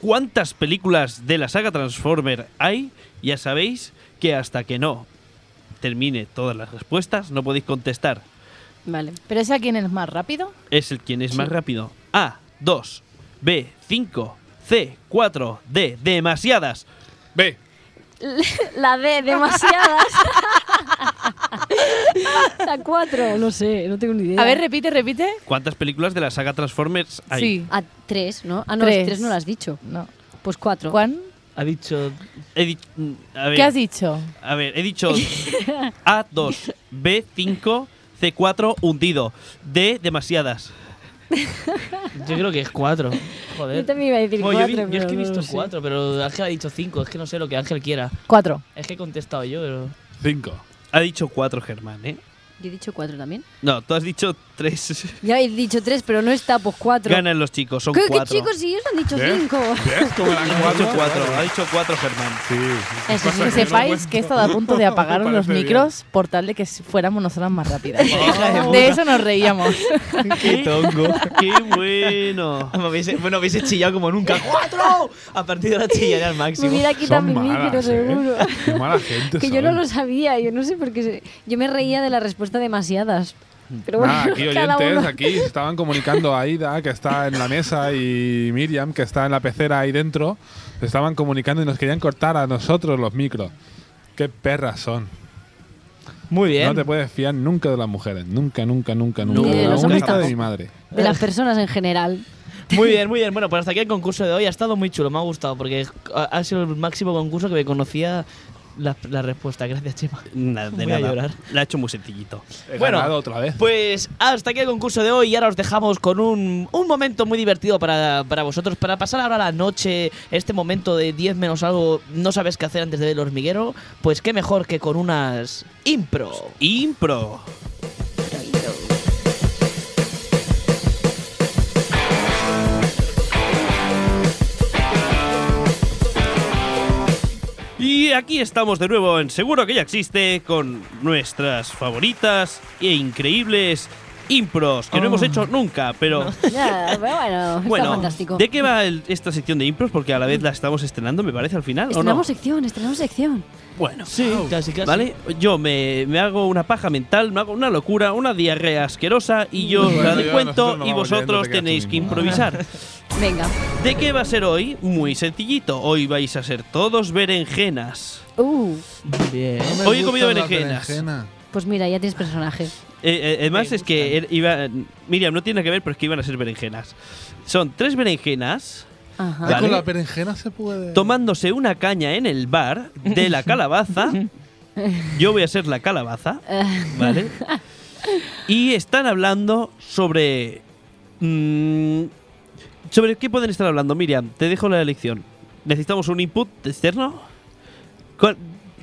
Speaker 4: ¿Cuántas películas de la saga Transformer hay? Ya sabéis que hasta que no termine todas las respuestas no podéis contestar.
Speaker 3: Vale.
Speaker 5: ¿Pero es a quién es más rápido?
Speaker 4: Es el quien es más rápido. A, 2, B, 5, C, 4, D, demasiadas.
Speaker 2: Ve,
Speaker 3: La D, demasiadas. la 4, no sé, no tengo ni idea.
Speaker 5: A ver, repite, repite.
Speaker 4: ¿Cuántas películas de la saga Transformers hay?
Speaker 5: Sí.
Speaker 3: a 3, ¿no? Ah, no,
Speaker 5: Tres.
Speaker 3: 3 no lo has dicho.
Speaker 5: No.
Speaker 3: Pues 4.
Speaker 5: ¿Juan?
Speaker 1: Ha dicho.
Speaker 4: He di- mm, a ver,
Speaker 5: ¿Qué has dicho?
Speaker 4: A ver, he dicho A2, B5, C4, hundido. D, demasiadas.
Speaker 1: Yo creo que es cuatro.
Speaker 3: Yo
Speaker 1: Joder.
Speaker 3: también iba a decir
Speaker 1: Bueno, yo,
Speaker 3: 4.
Speaker 1: vi- yo es que he visto cuatro, pero Ángel ha dicho cinco. Es que no sé lo que Ángel quiera.
Speaker 5: Cuatro.
Speaker 1: Es que he contestado yo, pero.
Speaker 2: 5.
Speaker 4: Ha dicho 4, Germán, ¿eh?
Speaker 3: Yo he dicho 4 también.
Speaker 4: No, tú has dicho 3.
Speaker 3: Ya he dicho 3, pero no está, pues 4.
Speaker 4: Ganan los chicos, son
Speaker 3: ¿Qué, qué
Speaker 4: 4.
Speaker 3: chicos? Si ellos han dicho
Speaker 2: ¿Ves?
Speaker 3: 5.
Speaker 2: ¿Ves cómo eran
Speaker 4: Ha dicho 4, ha
Speaker 2: 4?
Speaker 4: dicho 4, Germán.
Speaker 2: Sí.
Speaker 5: Eso
Speaker 2: Pasa
Speaker 5: sí, que
Speaker 2: no
Speaker 5: sepáis
Speaker 2: cuento.
Speaker 5: que he estado a punto de apagar
Speaker 2: Me
Speaker 5: los
Speaker 2: parece bien.
Speaker 5: micros por tal de que fuéramos nosotras más rápidas.
Speaker 4: Ah,
Speaker 5: de eso nos reíamos.
Speaker 4: ¡Qué tongo! ¡Qué bueno!
Speaker 1: Me hubiese- bueno, hubiese chillado como nunca. ¡Cuatro! A partir de ahora chillaré al
Speaker 3: Me
Speaker 1: máximo.
Speaker 3: hubiera quitado
Speaker 2: Son
Speaker 3: mi micro,
Speaker 2: malas, ¿eh?
Speaker 3: seguro.
Speaker 2: Qué mala gente
Speaker 3: Que yo
Speaker 2: son.
Speaker 3: no lo sabía, yo no sé por qué. se- Yo me reía de la respuesta demasiadas. Pero bueno,
Speaker 2: Nada, aquí
Speaker 3: cada
Speaker 2: oyentes,
Speaker 3: uno.
Speaker 2: aquí se estaban comunicando a Aida, que está en la mesa, y Miriam, que está en la pecera ahí dentro, se estaban comunicando y nos querían cortar a nosotros los micros. Qué perras son.
Speaker 1: Muy bien.
Speaker 2: No te puedes fiar nunca de las mujeres. Nunca, nunca, nunca,
Speaker 4: No,
Speaker 2: nunca.
Speaker 3: de los
Speaker 2: nunca
Speaker 3: hombres
Speaker 2: hasta de
Speaker 3: tampoco.
Speaker 2: mi madre.
Speaker 3: De las personas en general.
Speaker 1: Muy bien, muy bien. Bueno, pues hasta aquí el concurso de hoy. Ha estado muy chulo, me ha gustado porque ha ha sido el máximo concurso que me conocía la, la respuesta. Gracias, Chema.
Speaker 4: Nada, de
Speaker 1: Voy a
Speaker 4: nada.
Speaker 1: llorar.
Speaker 4: La ha hecho muy sencillito.
Speaker 2: He
Speaker 1: Bueno,
Speaker 2: ganado otra vez.
Speaker 1: Pues hasta aquí el concurso de hoy y ahora os dejamos con un, un momento muy divertido para, para vosotros, para pasar ahora la noche, este momento de 10 menos algo, no sabes qué hacer antes de ver el hormiguero, pues qué mejor que con unas impro.
Speaker 4: Impro. Y aquí estamos de nuevo en Seguro que ya existe con nuestras favoritas e increíbles impros que no
Speaker 3: Oh.
Speaker 4: hemos hecho nunca, pero
Speaker 3: Ya, pero bueno,
Speaker 4: bueno,
Speaker 3: está fantástico.
Speaker 4: ¿de qué va el- esta sección de impros? Porque a la vez la estamos estrenando, me parece, al final, ¿o no?
Speaker 3: Estrenamos sección, estrenamos sección.
Speaker 4: Bueno,
Speaker 1: Sí, casi, casi.
Speaker 4: ¿Vale? Yo me, me hago una paja mental, me hago una locura, una diarrea asquerosa y yo os la
Speaker 2: Bueno, ya
Speaker 4: cuento
Speaker 2: nosotros nos
Speaker 4: y
Speaker 2: vamos
Speaker 4: vosotros
Speaker 2: yendo, te quedas tú
Speaker 4: tenéis que
Speaker 2: mismo.
Speaker 4: improvisar.
Speaker 3: Venga.
Speaker 4: ¿De qué va a ser hoy? Muy sencillito. Hoy vais a ser todos berenjenas.
Speaker 3: Uh,
Speaker 1: Bien.
Speaker 2: No me
Speaker 4: hoy he comido
Speaker 2: gustan las
Speaker 4: berenjenas.
Speaker 2: berenjenas.
Speaker 3: pues mira, ya tienes personaje.
Speaker 4: Eh, eh, además
Speaker 1: Me
Speaker 4: es que er- iba, Miriam no tiene nada que ver, pero es que iban a ser berenjenas. Son tres berenjenas
Speaker 3: Ajá.
Speaker 2: Ay,
Speaker 4: Vale.
Speaker 2: Ah, Con la berenjena se puede.
Speaker 4: tomándose una caña en el bar de la calabaza. Yo voy a ser la calabaza.
Speaker 3: Eh,
Speaker 4: ¿Vale? y están hablando sobre. mm, ¿Sobre qué pueden estar hablando? Miriam, te dejo la elección. ¿Necesitamos un input externo? ¿Cuál,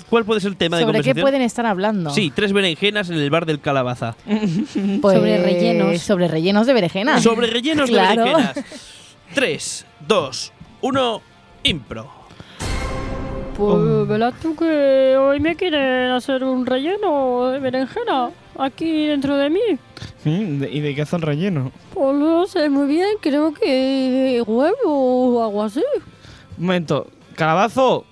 Speaker 4: cuál puede ser el tema de
Speaker 5: ¿Sobre qué
Speaker 4: conversación?
Speaker 5: pueden estar hablando?
Speaker 4: Sí, tres berenjenas en el bar del Calabaza.
Speaker 5: Pues,
Speaker 3: Sobre rellenos.
Speaker 5: Sobre rellenos de berenjena.
Speaker 4: Sobre rellenos
Speaker 5: Claro.
Speaker 4: de berenjenas. Tres, dos, uno, impro. Oh.
Speaker 8: Pues ¿verdad tú que hoy me quieren hacer un relleno de berenjena aquí dentro de mí?
Speaker 1: Mm, ¿Y de qué hacen relleno?
Speaker 8: Pues no sé muy bien, creo que de huevo o algo así.
Speaker 1: Un momento. Calabazo,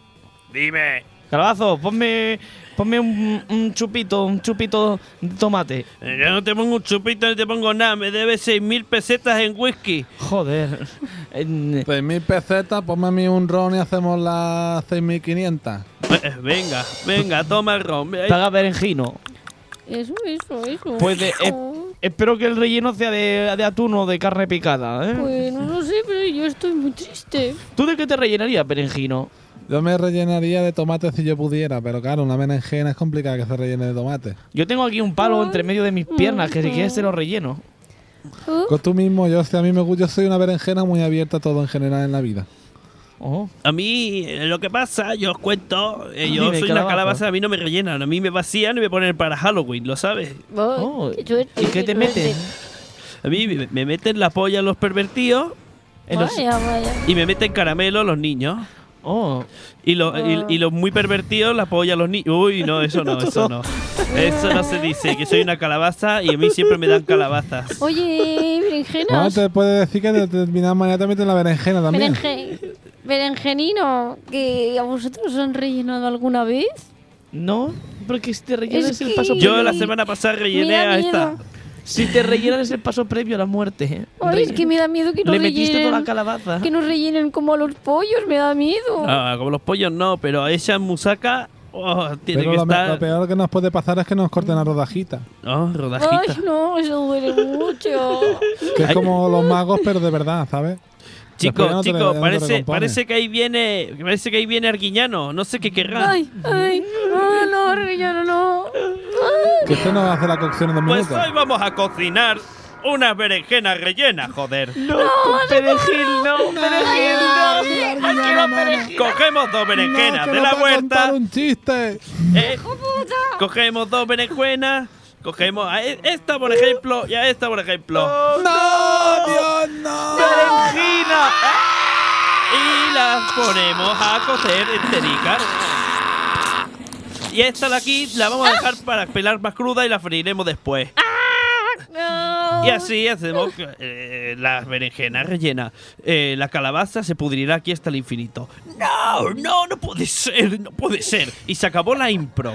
Speaker 4: Dime.
Speaker 1: calabazo, ponme, ponme un, un chupito, un chupito de tomate.
Speaker 4: Yo Eh, no te pongo un chupito ni te pongo nada. Me debes seis mil pesetas en whisky.
Speaker 1: Joder. En-
Speaker 2: 6.000 pesetas, ponme a mí un ron y hacemos las 6.500.
Speaker 4: Eh, Venga, venga, toma el ron. Ahí
Speaker 1: Paga berenjino.
Speaker 8: Eso, eso, eso.
Speaker 1: Pues de- eh, espero que el relleno sea de, de atún o de carne picada, ¿eh?
Speaker 8: Pues no lo sé, pero yo estoy muy triste. ¿Eh?
Speaker 1: ¿Tú de qué te rellenarías, berenjino?
Speaker 2: Yo me rellenaría de tomate si yo pudiera, pero claro, una berenjena es complicada que se rellene de tomate.
Speaker 1: Yo tengo aquí un palo entre medio de mis piernas, que si quieres te lo relleno.
Speaker 2: Con tú mismo, yo, si a mí me gusta, yo soy una berenjena muy abierta a todo en general en la vida.
Speaker 1: Oh.
Speaker 4: A mí eh, lo que pasa, yo os cuento, eh, yo
Speaker 1: Dime,
Speaker 4: soy
Speaker 1: calabaza.
Speaker 4: una calabaza, a mí no me rellenan, a mí me vacían y me ponen para Halloween, ¿lo sabes?
Speaker 1: Oh, ¿Y qué te meten?
Speaker 4: A mí me, me meten la polla los pervertidos
Speaker 1: En los-
Speaker 8: Vaya, vaya.
Speaker 4: y me meten caramelo los niños.
Speaker 1: Oh.
Speaker 4: Y, lo- y- y los muy pervertidos la polla los niños. Uy, no, eso no, eso no. Eso no se dice, que soy una calabaza y a mí siempre me dan calabazas.
Speaker 8: Oye,
Speaker 2: Bueno,
Speaker 8: berenjenas.
Speaker 2: te puede decir que de determinada manera te meten la berenjena también.
Speaker 8: Berenje- berenjenino, que a vosotros os han rellenado alguna vez.
Speaker 1: No, porque si te rellenas
Speaker 8: Es
Speaker 1: el paso
Speaker 8: que-
Speaker 4: Yo
Speaker 1: previo-
Speaker 4: la semana pasada rellené
Speaker 8: Me da
Speaker 4: a esta.
Speaker 8: miedo.
Speaker 1: Si te rellenan es el paso previo a la muerte, ¿eh?
Speaker 8: Ay, es que me da miedo que no
Speaker 1: Le metiste toda la
Speaker 8: rellenen.
Speaker 1: calabaza.
Speaker 8: Que no rellenen como a los pollos, me da miedo.
Speaker 4: Ah, como los pollos no, pero a esa musaca oh, tiene
Speaker 2: Pero
Speaker 4: que
Speaker 2: lo, me-
Speaker 4: estar.
Speaker 2: lo peor que nos puede pasar es que nos corten la rodajita.
Speaker 4: Oh, rodajita.
Speaker 8: Ay, no, eso duele mucho.
Speaker 2: Que es
Speaker 4: Ay.
Speaker 2: como los magos, pero de verdad, ¿sabes?
Speaker 4: Chico,
Speaker 2: Después ya no te
Speaker 4: chico,
Speaker 2: re- ya no te
Speaker 4: parece,
Speaker 2: recompones.
Speaker 4: parece que ahí viene, parece que ahí viene Arguiñano, no sé qué querrá.
Speaker 8: Ay, ay, ay, no, relleno, no.
Speaker 2: Que usted no hace la cocción en dos
Speaker 4: Pues
Speaker 2: minutos.
Speaker 4: hoy vamos a cocinar unas berenjenas rellenas, joder.
Speaker 1: No, con perejil, no, perejil, no.
Speaker 4: Cogemos dos berenjenas
Speaker 2: No, que
Speaker 4: de
Speaker 2: nos
Speaker 4: la
Speaker 2: va a contar
Speaker 4: huerta,
Speaker 2: un chiste!
Speaker 4: eh, cogemos dos berenjenas, cogemos a e- esta por ejemplo y a esta por ejemplo.
Speaker 2: ¡No, Dios, no!
Speaker 4: ¡Berenjina! Y las ponemos a cocer entericas. Y esta de aquí la vamos a dejar para pelar más cruda y la freiremos después. Y así hacemos eh, las berenjenas rellenas. Eh, la calabaza se pudrirá aquí hasta el infinito. No, no, no puede ser, no puede ser. Y se acabó la impro.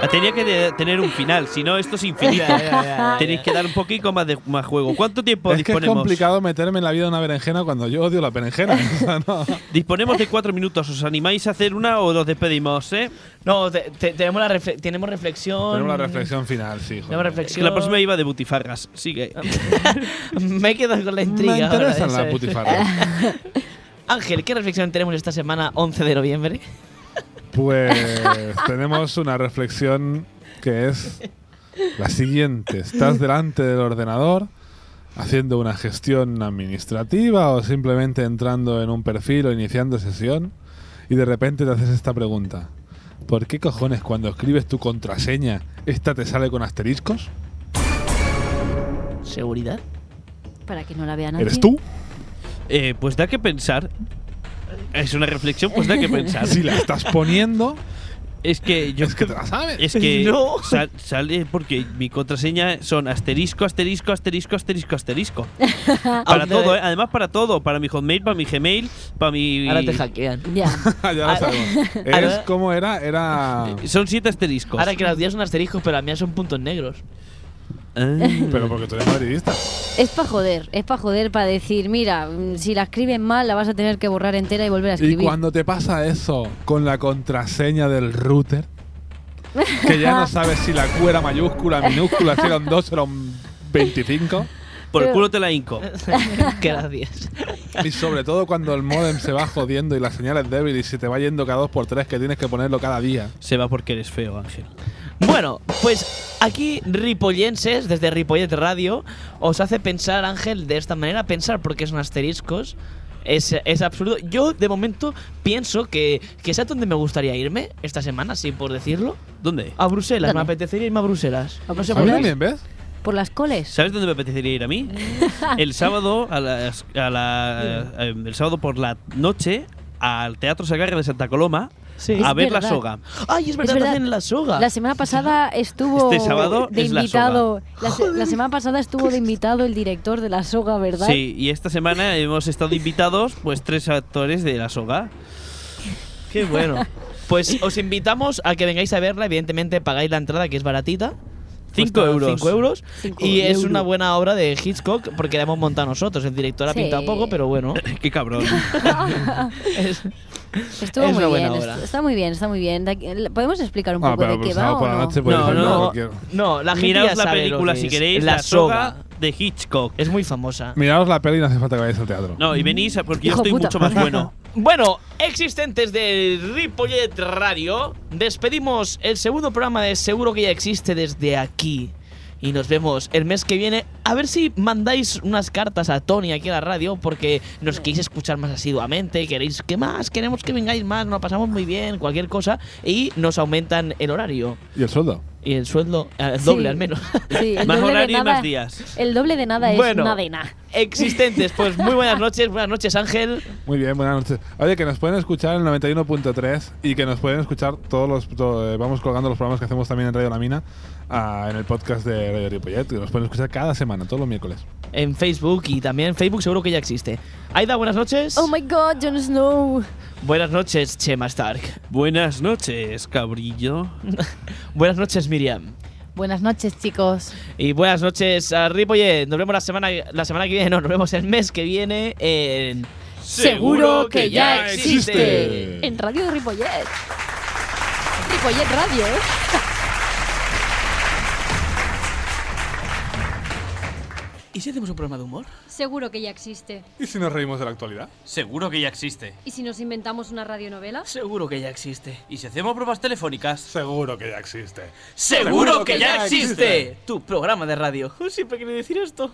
Speaker 4: La tenía que de- tener un final, si no esto es infinito. Tenéis que dar un poquito más de más juego. ¿Cuánto tiempo
Speaker 2: Es que es
Speaker 4: disponemos?
Speaker 2: complicado meterme en la vida de una berenjena cuando yo odio la berenjena. O sea, no.
Speaker 4: Disponemos de cuatro minutos. ¿Os animáis a hacer una o los despedimos, eh?
Speaker 1: No, te- te- tenemos, la refle- tenemos reflexión.
Speaker 2: Tenemos la reflexión final, sí.
Speaker 1: Tenemos
Speaker 2: joder.
Speaker 1: reflexión.
Speaker 4: La próxima iba de butifarras. Sigue.
Speaker 1: Ah. Me he quedado con la intriga.
Speaker 2: Me
Speaker 1: ahora,
Speaker 2: interesan
Speaker 1: eso
Speaker 2: las
Speaker 1: es.
Speaker 2: putifarras.
Speaker 1: Ángel, ¿qué reflexión tenemos esta semana, 11 de noviembre?
Speaker 2: Pues tenemos una reflexión que es la siguiente. Estás delante del ordenador haciendo una gestión administrativa o simplemente entrando en un perfil o iniciando sesión y de repente te haces esta pregunta. ¿Por qué cojones cuando escribes tu contraseña esta te sale con asteriscos?
Speaker 1: ¿Seguridad?
Speaker 3: Para que no la vean nadie.
Speaker 2: ¿Eres tú?
Speaker 4: Eh, pues da que pensar. Es una reflexión, pues da que pensar.
Speaker 2: Si la estás poniendo,
Speaker 4: Es que yo
Speaker 2: es que te la sabes.
Speaker 4: Es que
Speaker 1: No.
Speaker 4: sal- sale porque mi contraseña son asterisco, asterisco, asterisco, asterisco, asterisco. para
Speaker 1: Ahora-
Speaker 4: todo, ¿eh? además para todo. Para mi Hotmail, para mi Gmail, para mi.
Speaker 1: Ahora te hackean.
Speaker 3: Ya.
Speaker 2: ya
Speaker 4: Ah,
Speaker 2: lo sabemos. Es
Speaker 1: ahora-
Speaker 2: como era, era...
Speaker 4: Eh, Son siete asteriscos.
Speaker 1: Ahora que las días son asteriscos, pero las mías son puntos negros.
Speaker 4: Ah.
Speaker 2: Pero porque tú eres madridista.
Speaker 3: Es para joder, es para joder, para decir, mira, mm, si la escribes mal la vas a tener que borrar entera y volver
Speaker 2: Y
Speaker 3: a escribir.
Speaker 2: cuando te pasa eso con la contraseña del router, que ya no sabes si la Q era mayúscula, minúscula, si era un 2, era un 25,
Speaker 4: Por el culo te la hinco.
Speaker 1: Gracias.
Speaker 2: y sobre todo cuando el modem se va jodiendo y la señal es débil y se te va yendo cada 2x3 que tienes que ponerlo cada día.
Speaker 4: Se va porque eres feo, Ángel.
Speaker 1: Bueno, pues aquí Ripollenses, desde Ripollet Radio, os hace pensar, Ángel, de esta manera, pensar porque son asteriscos. Es, es absurdo. Yo, de momento, pienso que, que es a donde me gustaría irme esta semana, sí, por decirlo.
Speaker 4: ¿Dónde?
Speaker 1: A Bruselas, me
Speaker 3: Dale.
Speaker 1: apetecería irme a Bruselas. No sé
Speaker 2: A
Speaker 1: por
Speaker 2: mí
Speaker 1: qué.
Speaker 2: también, ¿ves?
Speaker 3: Por las coles.
Speaker 4: ¿Sabes dónde me apetecería ir a mí? El sábado a las- a la- eh, el sábado por la noche al Teatro Sagarra de Santa Coloma
Speaker 1: Sí.
Speaker 4: a
Speaker 3: Es
Speaker 4: ver la
Speaker 3: verdad.
Speaker 4: soga.
Speaker 1: Ay, es verdad,
Speaker 3: verdad.
Speaker 1: hacen la soga.
Speaker 3: La semana pasada estuvo
Speaker 4: Este sábado
Speaker 3: de
Speaker 4: es la
Speaker 3: invitado. La, se- la semana pasada estuvo de invitado el director de la soga, ¿verdad?
Speaker 4: Sí, y esta semana hemos estado invitados pues tres actores de la soga.
Speaker 1: Qué bueno. Pues os invitamos a que vengáis a verla. Evidentemente pagáis la entrada, que es baratita.
Speaker 4: Cinco
Speaker 1: Cuesta
Speaker 4: euros.
Speaker 1: cinco euros.
Speaker 3: Cinco
Speaker 1: y es
Speaker 3: euros.
Speaker 1: una buena obra de Hitchcock porque la hemos montado nosotros. El director ha
Speaker 3: Sí.
Speaker 1: pintado poco, pero bueno.
Speaker 4: Qué cabrón.
Speaker 1: Es-
Speaker 3: Estuvo
Speaker 1: Es
Speaker 3: muy
Speaker 1: una buena
Speaker 3: bien.
Speaker 1: obra.
Speaker 3: est- Está muy bien, está muy bien. Da- ¿Podemos explicar un
Speaker 2: Ah,
Speaker 3: poco
Speaker 2: pero
Speaker 3: de
Speaker 2: por
Speaker 3: qué va
Speaker 2: sábado
Speaker 3: o
Speaker 2: por la
Speaker 3: no?
Speaker 2: noche pues, puedes
Speaker 4: No,
Speaker 2: hacer
Speaker 4: no.
Speaker 2: nada, cualquier-
Speaker 1: no, la gente
Speaker 4: Miraos
Speaker 1: ya
Speaker 4: la
Speaker 1: sabe lo
Speaker 4: película
Speaker 1: que
Speaker 4: si
Speaker 1: es.
Speaker 4: queréis, la, soga, de Hitchcock.
Speaker 1: Es muy famosa.
Speaker 2: Miraos la peli y no hace falta que vayáis al teatro.
Speaker 4: No, y venís porque yo
Speaker 3: Hijo
Speaker 4: estoy
Speaker 3: puta.
Speaker 4: mucho más bueno.
Speaker 1: Bueno, existentes de Ripollet Radio, despedimos el segundo programa de Seguro que ya existe desde aquí. Y nos vemos el mes que viene. A ver si mandáis unas cartas a Tony aquí a la radio porque nos queréis escuchar más asiduamente, queréis que más, queremos que vengáis más, nos lo pasamos muy bien, cualquier cosa. Y nos aumentan el horario.
Speaker 2: ¿Y el sueldo?
Speaker 1: Y el sueldo, eh, el doble
Speaker 3: Sí.
Speaker 1: al menos.
Speaker 3: Sí, el
Speaker 4: Más
Speaker 3: doble de
Speaker 4: horario y
Speaker 3: nada-
Speaker 4: más días.
Speaker 3: El doble de nada es
Speaker 1: Bueno.
Speaker 3: nada de nada.
Speaker 1: Existentes, pues muy buenas noches, buenas noches Ángel.
Speaker 2: Muy bien, buenas noches. Oye, que nos pueden escuchar en el 91.3 y que nos pueden escuchar todos los. to- eh, vamos colgando los programas que hacemos también en Radio La Mina ah, en el podcast de Radio Ripollet. que nos pueden escuchar cada semana, todos los miércoles.
Speaker 1: En Facebook y también Facebook seguro que ya existe. Aida, buenas noches.
Speaker 3: Oh my god, Jon Snow.
Speaker 1: buenas noches Chema Stark.
Speaker 4: Buenas noches, cabrillo.
Speaker 1: Buenas noches Miriam.
Speaker 5: Buenas noches, chicos.
Speaker 1: Y buenas noches a Ripollet. Nos vemos la semana, la semana que viene, no, nos vemos el mes que viene en...
Speaker 5: Seguro que ya
Speaker 2: existe.
Speaker 3: En Radio de Ripollet. Ripollet Radio, ¿eh?
Speaker 7: ¿Y si hacemos un programa de humor?
Speaker 3: Seguro que ya existe.
Speaker 2: ¿Y si nos reímos de la actualidad?
Speaker 7: Seguro que ya existe.
Speaker 3: ¿Y si nos inventamos una radionovela?
Speaker 7: Seguro que ya existe. ¿Y si hacemos pruebas telefónicas?
Speaker 2: Seguro que ya existe.
Speaker 7: ¡Seguro que ya
Speaker 2: ya existe!
Speaker 7: existe! Tu programa de radio.
Speaker 6: Siempre quería decir esto.